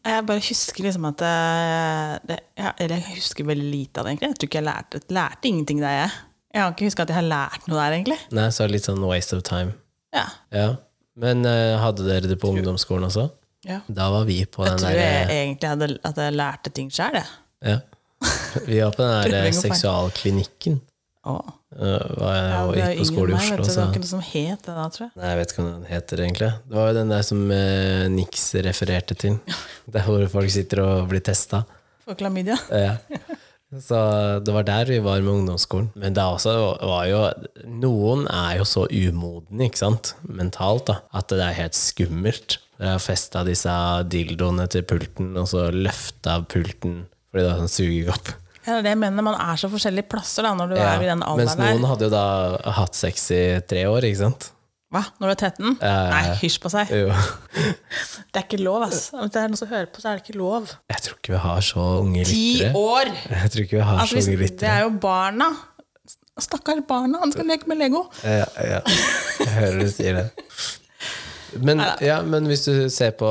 Speaker 2: Jeg bare husker liksom at eh, det, ja, Eller jeg husker veldig lite av det, egentlig. Jeg tror ikke jeg lærte, lærte ingenting der, jeg. Jeg har ikke huska at jeg har lært noe der, egentlig.
Speaker 1: Nei, så litt sånn waste of time.
Speaker 2: Ja.
Speaker 1: Ja. Men eh, hadde dere det på ungdomsskolen også?
Speaker 2: ja.
Speaker 1: Da var vi på
Speaker 2: Jeg
Speaker 1: den
Speaker 2: tror jeg
Speaker 1: der eh,
Speaker 2: egentlig hadde, at jeg lærte ting sjøl, jeg.
Speaker 1: ja. Vi var
Speaker 2: [laughs]
Speaker 1: på den der eh,
Speaker 2: Prøving og feil.
Speaker 1: seksualklinikken.
Speaker 2: Åh.
Speaker 1: eh, var jeg og
Speaker 2: Jeg var
Speaker 1: gikk på
Speaker 2: yngre
Speaker 1: skole i Oslo,
Speaker 2: enn meg, vet du, Det
Speaker 1: så
Speaker 2: var ikke noe som het det da, tror jeg.
Speaker 1: Nei, jeg vet ikke hva den heter, egentlig. Det var jo den der som eh, Nix refererte til. Der hvor folk sitter og blir testa.
Speaker 2: For klamydia.
Speaker 1: Ja. Så det var der vi var med ungdomsskolen. Men det er også var jo Noen er jo så umodne, ikke sant, mentalt, da, at det er helt skummelt. Jeg har festa disse dildoene til pulten, og så løfta pulten fordi det er sånn sugekopp.
Speaker 2: Ja, det er det jeg mener. Man er så forskjellige plasser da, når du
Speaker 1: Ja.
Speaker 2: er i den
Speaker 1: Mens
Speaker 2: alderen der.
Speaker 1: noen hadde jo da hatt sex i tre år, ikke sant?
Speaker 2: Hva? Når du er 13?
Speaker 1: Eh.
Speaker 2: Nei, hysj på seg.
Speaker 1: Jo.
Speaker 2: Det er ikke lov, ass. Hvis det er noen som hører på, så er det ikke lov.
Speaker 1: Jeg tror ikke vi har så unge
Speaker 2: Ti
Speaker 1: lyttere.
Speaker 2: år!
Speaker 1: Jeg tror ikke vi har
Speaker 2: Altså,
Speaker 1: så
Speaker 2: hvis,
Speaker 1: unge
Speaker 2: det
Speaker 1: lyttere.
Speaker 2: er jo barna. Stakkars barna, han skal leke med Lego.
Speaker 1: Ja, ja. Jeg hører du sier det. Men, ja, men hvis du ser på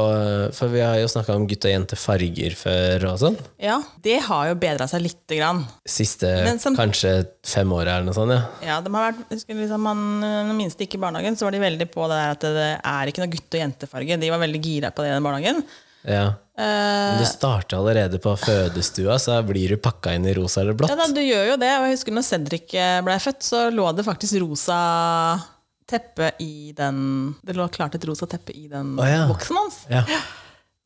Speaker 1: For vi har jo snakka om gutt og jente farger før og sånn.
Speaker 2: Ja, det har jo bedra seg lite grann.
Speaker 1: Siste
Speaker 2: Men som-
Speaker 1: kanskje fem åra eller noe sånt, ja.
Speaker 2: Ja, de har vært, jeg husker liksom han, Når minste gikk i barnehagen, så var de veldig på det der at det er ikke noe gutt- og jentefarge. De var veldig gira på det i den barnehagen.
Speaker 1: Ja.
Speaker 2: Eh,
Speaker 1: Men det starter allerede på fødestua, så blir du pakka inn i rosa eller blått.
Speaker 2: Ja, da, du gjør jo det. Og jeg husker når Cedric eh, ble født, så lå det faktisk rosa teppe i den Det lå klart et rosa teppe i den
Speaker 1: Å, ja.
Speaker 2: boksen hans.
Speaker 1: Ja.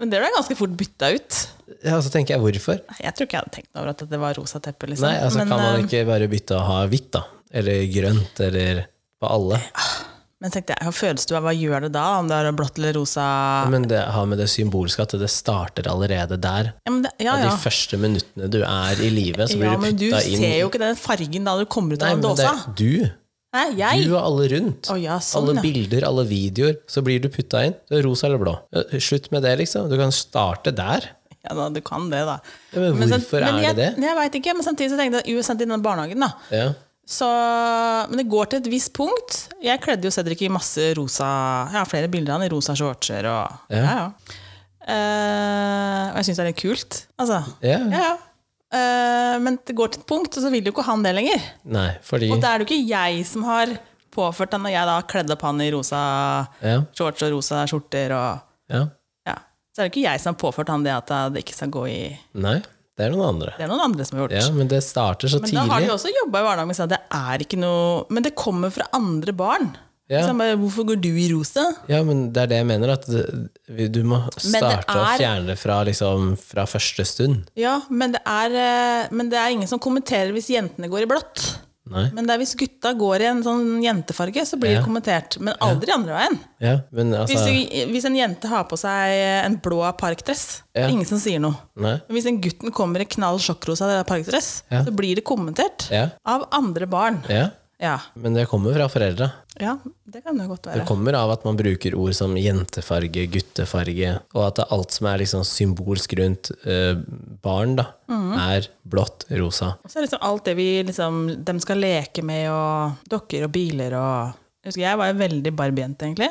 Speaker 2: Men det ble ganske fort bytta ut.
Speaker 1: Ja, og så tenker jeg hvorfor?
Speaker 2: Nei, Jeg tror ikke jeg hadde tenkt over at det var rosa teppe. Liksom.
Speaker 1: Nei, altså
Speaker 2: men,
Speaker 1: kan man
Speaker 2: eh,
Speaker 1: ikke bare bytte å ha hvitt, da? Eller grønt, eller på alle?
Speaker 2: men tenkte jeg, fødestua, hva gjør det da? Om det er blått eller rosa
Speaker 1: Men det har med det symbolske at det starter allerede der.
Speaker 2: Ja, men det, ja.
Speaker 1: De
Speaker 2: ja.
Speaker 1: første minuttene du er i live, så blir
Speaker 2: ja
Speaker 1: du
Speaker 2: men du
Speaker 1: putta inn
Speaker 2: ser jo ikke den fargen da du kommer ut
Speaker 1: Nei,
Speaker 2: av den
Speaker 1: men det
Speaker 2: dåsa.
Speaker 1: er du.
Speaker 2: Nei, jeg!
Speaker 1: Du og alle rundt.
Speaker 2: Å ja, sånn,
Speaker 1: alle
Speaker 2: ja.
Speaker 1: bilder, alle videoer. Så blir du putta inn. Det er Rosa eller blå. Ja, Slutt med det, liksom. Du kan starte der.
Speaker 2: Ja, da, du kan det, da.
Speaker 1: Ja, men
Speaker 2: sam-
Speaker 1: hvorfor
Speaker 2: men
Speaker 1: er
Speaker 2: jeg,
Speaker 1: det
Speaker 2: Jeg vet ikke, men samtidig så tenkte jeg at sendt i den barnehagen, da.
Speaker 1: Ja.
Speaker 2: Så, men det går til et visst punkt. Jeg kledde jo Cedric i masse rosa Jeg har flere bilder av han i rosa shortser og Ja, ja. Eh, og jeg syns det er litt kult. Altså.
Speaker 1: ja.
Speaker 2: Ja, ja. Eh, men det går til et punkt, og så vil jo ikke han det lenger.
Speaker 1: Nei, fordi
Speaker 2: Og da er det jo ikke jeg som har påført han, og jeg da kledde opp han i rosa
Speaker 1: Ja.
Speaker 2: shorts og rosa skjorter og
Speaker 1: ja.
Speaker 2: Ja. Så er det ikke jeg som har påført han det at det ikke skal gå i
Speaker 1: Nei, det er noen andre.
Speaker 2: Det er noen andre som har gjort.
Speaker 1: Ja, men det starter så
Speaker 2: Men da har de
Speaker 1: tidlig.
Speaker 2: også jobba i barnehagen og sagt at det er ikke noe Men det kommer fra andre barn.
Speaker 1: Ja.
Speaker 2: Så jeg bare, hvorfor går du i rosa?
Speaker 1: Ja, men det er det jeg mener, at det- du må starte å
Speaker 2: er-
Speaker 1: fjerne det fra, liksom, fra første stund.
Speaker 2: Ja, men det, er, eh, men det er ingen som kommenterer hvis jentene går i blått.
Speaker 1: Nei.
Speaker 2: Men det er hvis gutta går i en sånn jentefarge, så blir det kommentert. Men aldri andre veien.
Speaker 1: Ja, men
Speaker 2: Hvis,
Speaker 1: altså
Speaker 2: du, hvis en jente har på seg en blå parkdress,
Speaker 1: Ja.
Speaker 2: det er ingen som sier noe.
Speaker 1: Nei.
Speaker 2: Men hvis den gutten kommer i knall sjokkrosa parkdress,
Speaker 1: Ja.
Speaker 2: så blir det kommentert
Speaker 1: Ja.
Speaker 2: av andre barn.
Speaker 1: ja.
Speaker 2: Ja.
Speaker 1: Men det kommer fra foreldra.
Speaker 2: ja, det kan det godt være.
Speaker 1: Det kommer av at man bruker ord som jentefarge, guttefarge, og at det er alt som er liksom symbolsk rundt eh, barn, da,
Speaker 2: Mhm.
Speaker 1: er blått, rosa.
Speaker 2: Så er det liksom alt det vi liksom De skal leke med, og dokker og biler og Jeg husker jeg var jo veldig barbiejente, egentlig.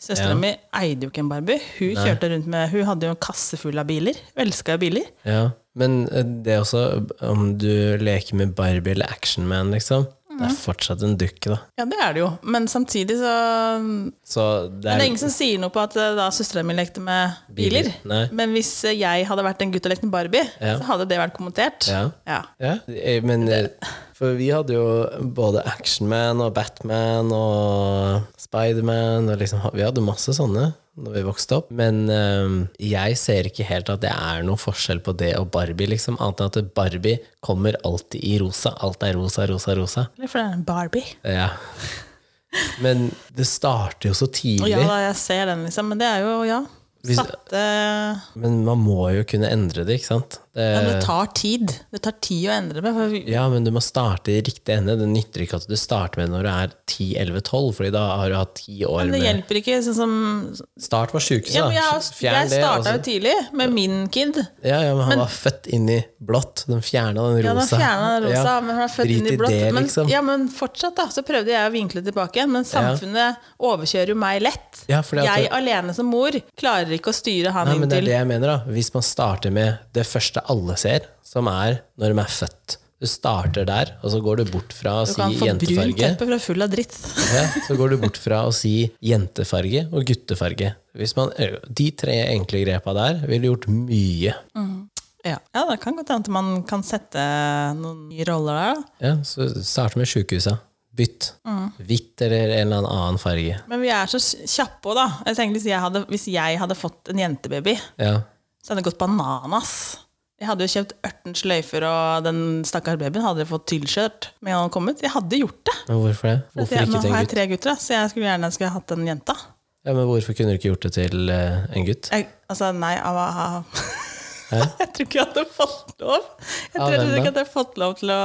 Speaker 2: Søstera mi eide jo ikke en Barbie. Hun kjørte rundt med Hun hadde jo en kasse full av biler. Elska biler.
Speaker 1: Ja. Men eh, det er også, om du leker med Barbie eller Action Man, liksom, det
Speaker 2: Mhm.
Speaker 1: er fortsatt en dukke, da.
Speaker 2: Ja, det er det jo. Men samtidig så Men
Speaker 1: Så det
Speaker 2: det
Speaker 1: er
Speaker 2: er ingen som sier noe på at eh, da søstera mi lekte med biler.
Speaker 1: Biler, nei.
Speaker 2: Men hvis eh, jeg hadde vært en gutt og lekt med Barbie,
Speaker 1: Ja.
Speaker 2: så hadde det vært kommentert.
Speaker 1: Ja.
Speaker 2: Ja.
Speaker 1: Ja, eh, men eh, for vi hadde jo både Actionman og Batman og Spiderman og liksom Vi hadde masse sånne når vi vokste opp. Men eh, jeg ser ikke helt at det er noen forskjell på det og Barbie, liksom. Annet enn at Barbie kommer alltid i rosa. Alt er rosa, rosa, rosa.
Speaker 2: Eller for det er en Barbie.
Speaker 1: Ja. Men det starter jo så
Speaker 2: Og
Speaker 1: tidlig.
Speaker 2: ja da, jeg ser den, liksom. Men det er jo, ja.
Speaker 1: Hvis-
Speaker 2: Satte
Speaker 1: Men man må jo kunne endre det, ikke sant? Det,
Speaker 2: Men det tar tid. Det tar tid å endre det. For vi,
Speaker 1: Ja, men du må starte i riktig ende. Det nytter ikke at du starter med det når du er 10-11-12, Fordi da har du hatt ti år
Speaker 2: det
Speaker 1: med
Speaker 2: hjelper ikke. Sånn som
Speaker 1: Start var sjukehuset,
Speaker 2: ja, men
Speaker 1: da.
Speaker 2: Jeg, jeg
Speaker 1: og
Speaker 2: starta
Speaker 1: så-
Speaker 2: jo tidlig med min kid.
Speaker 1: Ja, ja, men han var født inn i blått. De fjerna den
Speaker 2: Ja, da
Speaker 1: rosa.
Speaker 2: fjerna den rosa,
Speaker 1: Ja,
Speaker 2: men han er født
Speaker 1: drit
Speaker 2: inn i blått.
Speaker 1: det,
Speaker 2: men,
Speaker 1: liksom. ja.
Speaker 2: ja, men fortsatt, da. Så prøvde jeg å vinkle tilbake igjen, men samfunnet overkjører jo meg lett.
Speaker 1: fordi at
Speaker 2: jeg alene som mor klarer ikke å styre han
Speaker 1: Nei, men det er
Speaker 2: inntil
Speaker 1: det jeg mener, da. Hvis man starter med det første alle ser, som er når de er født. Du starter der, og så går du bort fra å
Speaker 2: Du
Speaker 1: si
Speaker 2: kan få brunt
Speaker 1: jentefarge.
Speaker 2: teppe fra full av dritt. [laughs]
Speaker 1: Ja, så går du bort fra å si jentefarge og guttefarge. Hvis man, eh, de tre enkle grepa der ville gjort mye.
Speaker 2: Ja, ja det kan godt hende at man kan sette noen nye roller der. da.
Speaker 1: Ja, så start med sjukehusa. Bytt. Hvitt eller en eller annen farge.
Speaker 2: Men vi er så kjappe òg, da. Jeg tenker, hvis, jeg hadde, hvis jeg hadde fått en jentebaby,
Speaker 1: Ja.
Speaker 2: Så hadde det gått bananas. Jeg hadde jo kjøpt ørten sløyfer, og den stakkars babyen hadde fått tilskjørt. Men han hadde kommet. Jeg hadde gjort det.
Speaker 1: Men hvorfor det?
Speaker 2: For at
Speaker 1: Hvorfor
Speaker 2: jeg,
Speaker 1: ikke
Speaker 2: nå
Speaker 1: til en
Speaker 2: har jeg
Speaker 1: gutt?
Speaker 2: tre gutter, da, så jeg skulle gjerne skulle hatt en jenta.
Speaker 1: Ja, men hvorfor kunne du ikke gjort det til eh, en gutt?
Speaker 2: Jeg, altså, nei, av, av. [laughs] Jeg tror ikke jeg hadde fått lov. Jeg
Speaker 1: Av
Speaker 2: tror jeg
Speaker 1: hvem
Speaker 2: tror ikke
Speaker 1: da?
Speaker 2: at jeg hadde fått lov til å,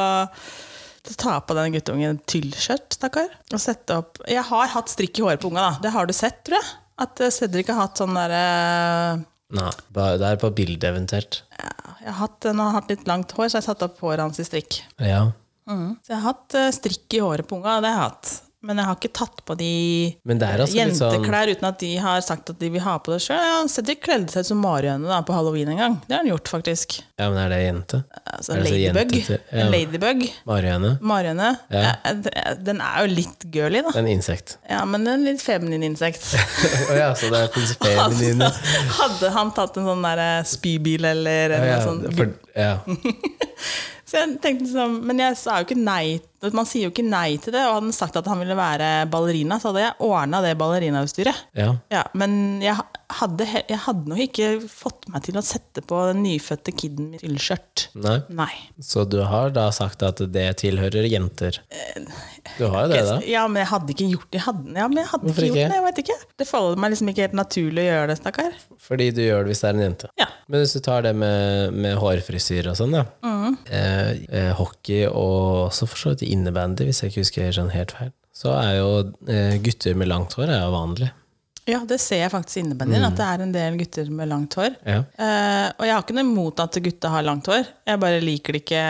Speaker 2: til å ta på den guttungen tyllskjørt, stakkar. Og sette opp Jeg har hatt strikk i håret på unga, da. Det har du sett, tror jeg. At eh, Cedric har hatt sånn derre
Speaker 1: Nei, ba- det er på bildet eventuelt.
Speaker 2: Jeg har hatt, Når han har hatt litt langt hår, så har jeg satt opp håret hans i strikk.
Speaker 1: Ja.
Speaker 2: Så jeg har hatt eh, strikk i håret på unga, det har jeg hatt. Men jeg har ikke tatt på de
Speaker 1: Men det er altså litt sånn-
Speaker 2: jenteklær uten at de har sagt at de vil ha på det sjøl. Ja, Cedric kledde seg ut som marihøne da, på halloween en gang. Det har han gjort, faktisk.
Speaker 1: Ja, men er det jente?
Speaker 2: Altså,
Speaker 1: Er det så
Speaker 2: ladybug.
Speaker 1: jentete? Ja.
Speaker 2: En ladybug.
Speaker 1: Marihøne?
Speaker 2: Marihøne. Jeg- jeg- Den er jo litt girly,
Speaker 1: Det
Speaker 2: da.
Speaker 1: er en insekt. [laughs]
Speaker 2: Ja, men en litt feminin insekt.
Speaker 1: Å ja, så det er prinsippene
Speaker 2: [laughs] Altså, hadde han tatt en sånn der eh, spybil eller, eller
Speaker 1: Ja,
Speaker 2: noe sånt
Speaker 1: for, ja.
Speaker 2: Så jeg tenkte sånn, Men jeg sa jo ikke nei Man sier jo ikke nei til det. Og hadde han sagt at han ville være ballerina, så hadde jeg ordna det ballerinautstyret.
Speaker 1: ja.
Speaker 2: Ja, men jeg hadde, he- jeg hadde nok ikke fått meg til å sette på den nyfødte kiden min ullskjørt.
Speaker 1: Nei.
Speaker 2: Nei.
Speaker 1: Så du har da sagt at det tilhører jenter? Du har jo det, da.
Speaker 2: Ja, men jeg hadde ikke gjort det. Jeg hadde, ja, men jeg hadde
Speaker 1: Hvorfor
Speaker 2: ikke gjort
Speaker 1: ikke?
Speaker 2: det, jeg vet ikke. Det faller meg liksom ikke helt naturlig å gjøre det, stakkar.
Speaker 1: Fordi du gjør det hvis det er en jente.
Speaker 2: Ja.
Speaker 1: Men hvis du tar det med, med hårfrisyr og sånn, da.
Speaker 2: Mm.
Speaker 1: Eh, eh, hockey og også for så vidt innebandy, hvis jeg ikke husker sånn helt feil, så er jo eh, gutter med langt hår er jo vanlig.
Speaker 2: Ja, det ser jeg faktisk innebandy, at det er en del gutter med langt hår.
Speaker 1: Ja.
Speaker 2: Eh, og jeg har ikke noe imot at gutta har langt hår. Jeg bare liker det ikke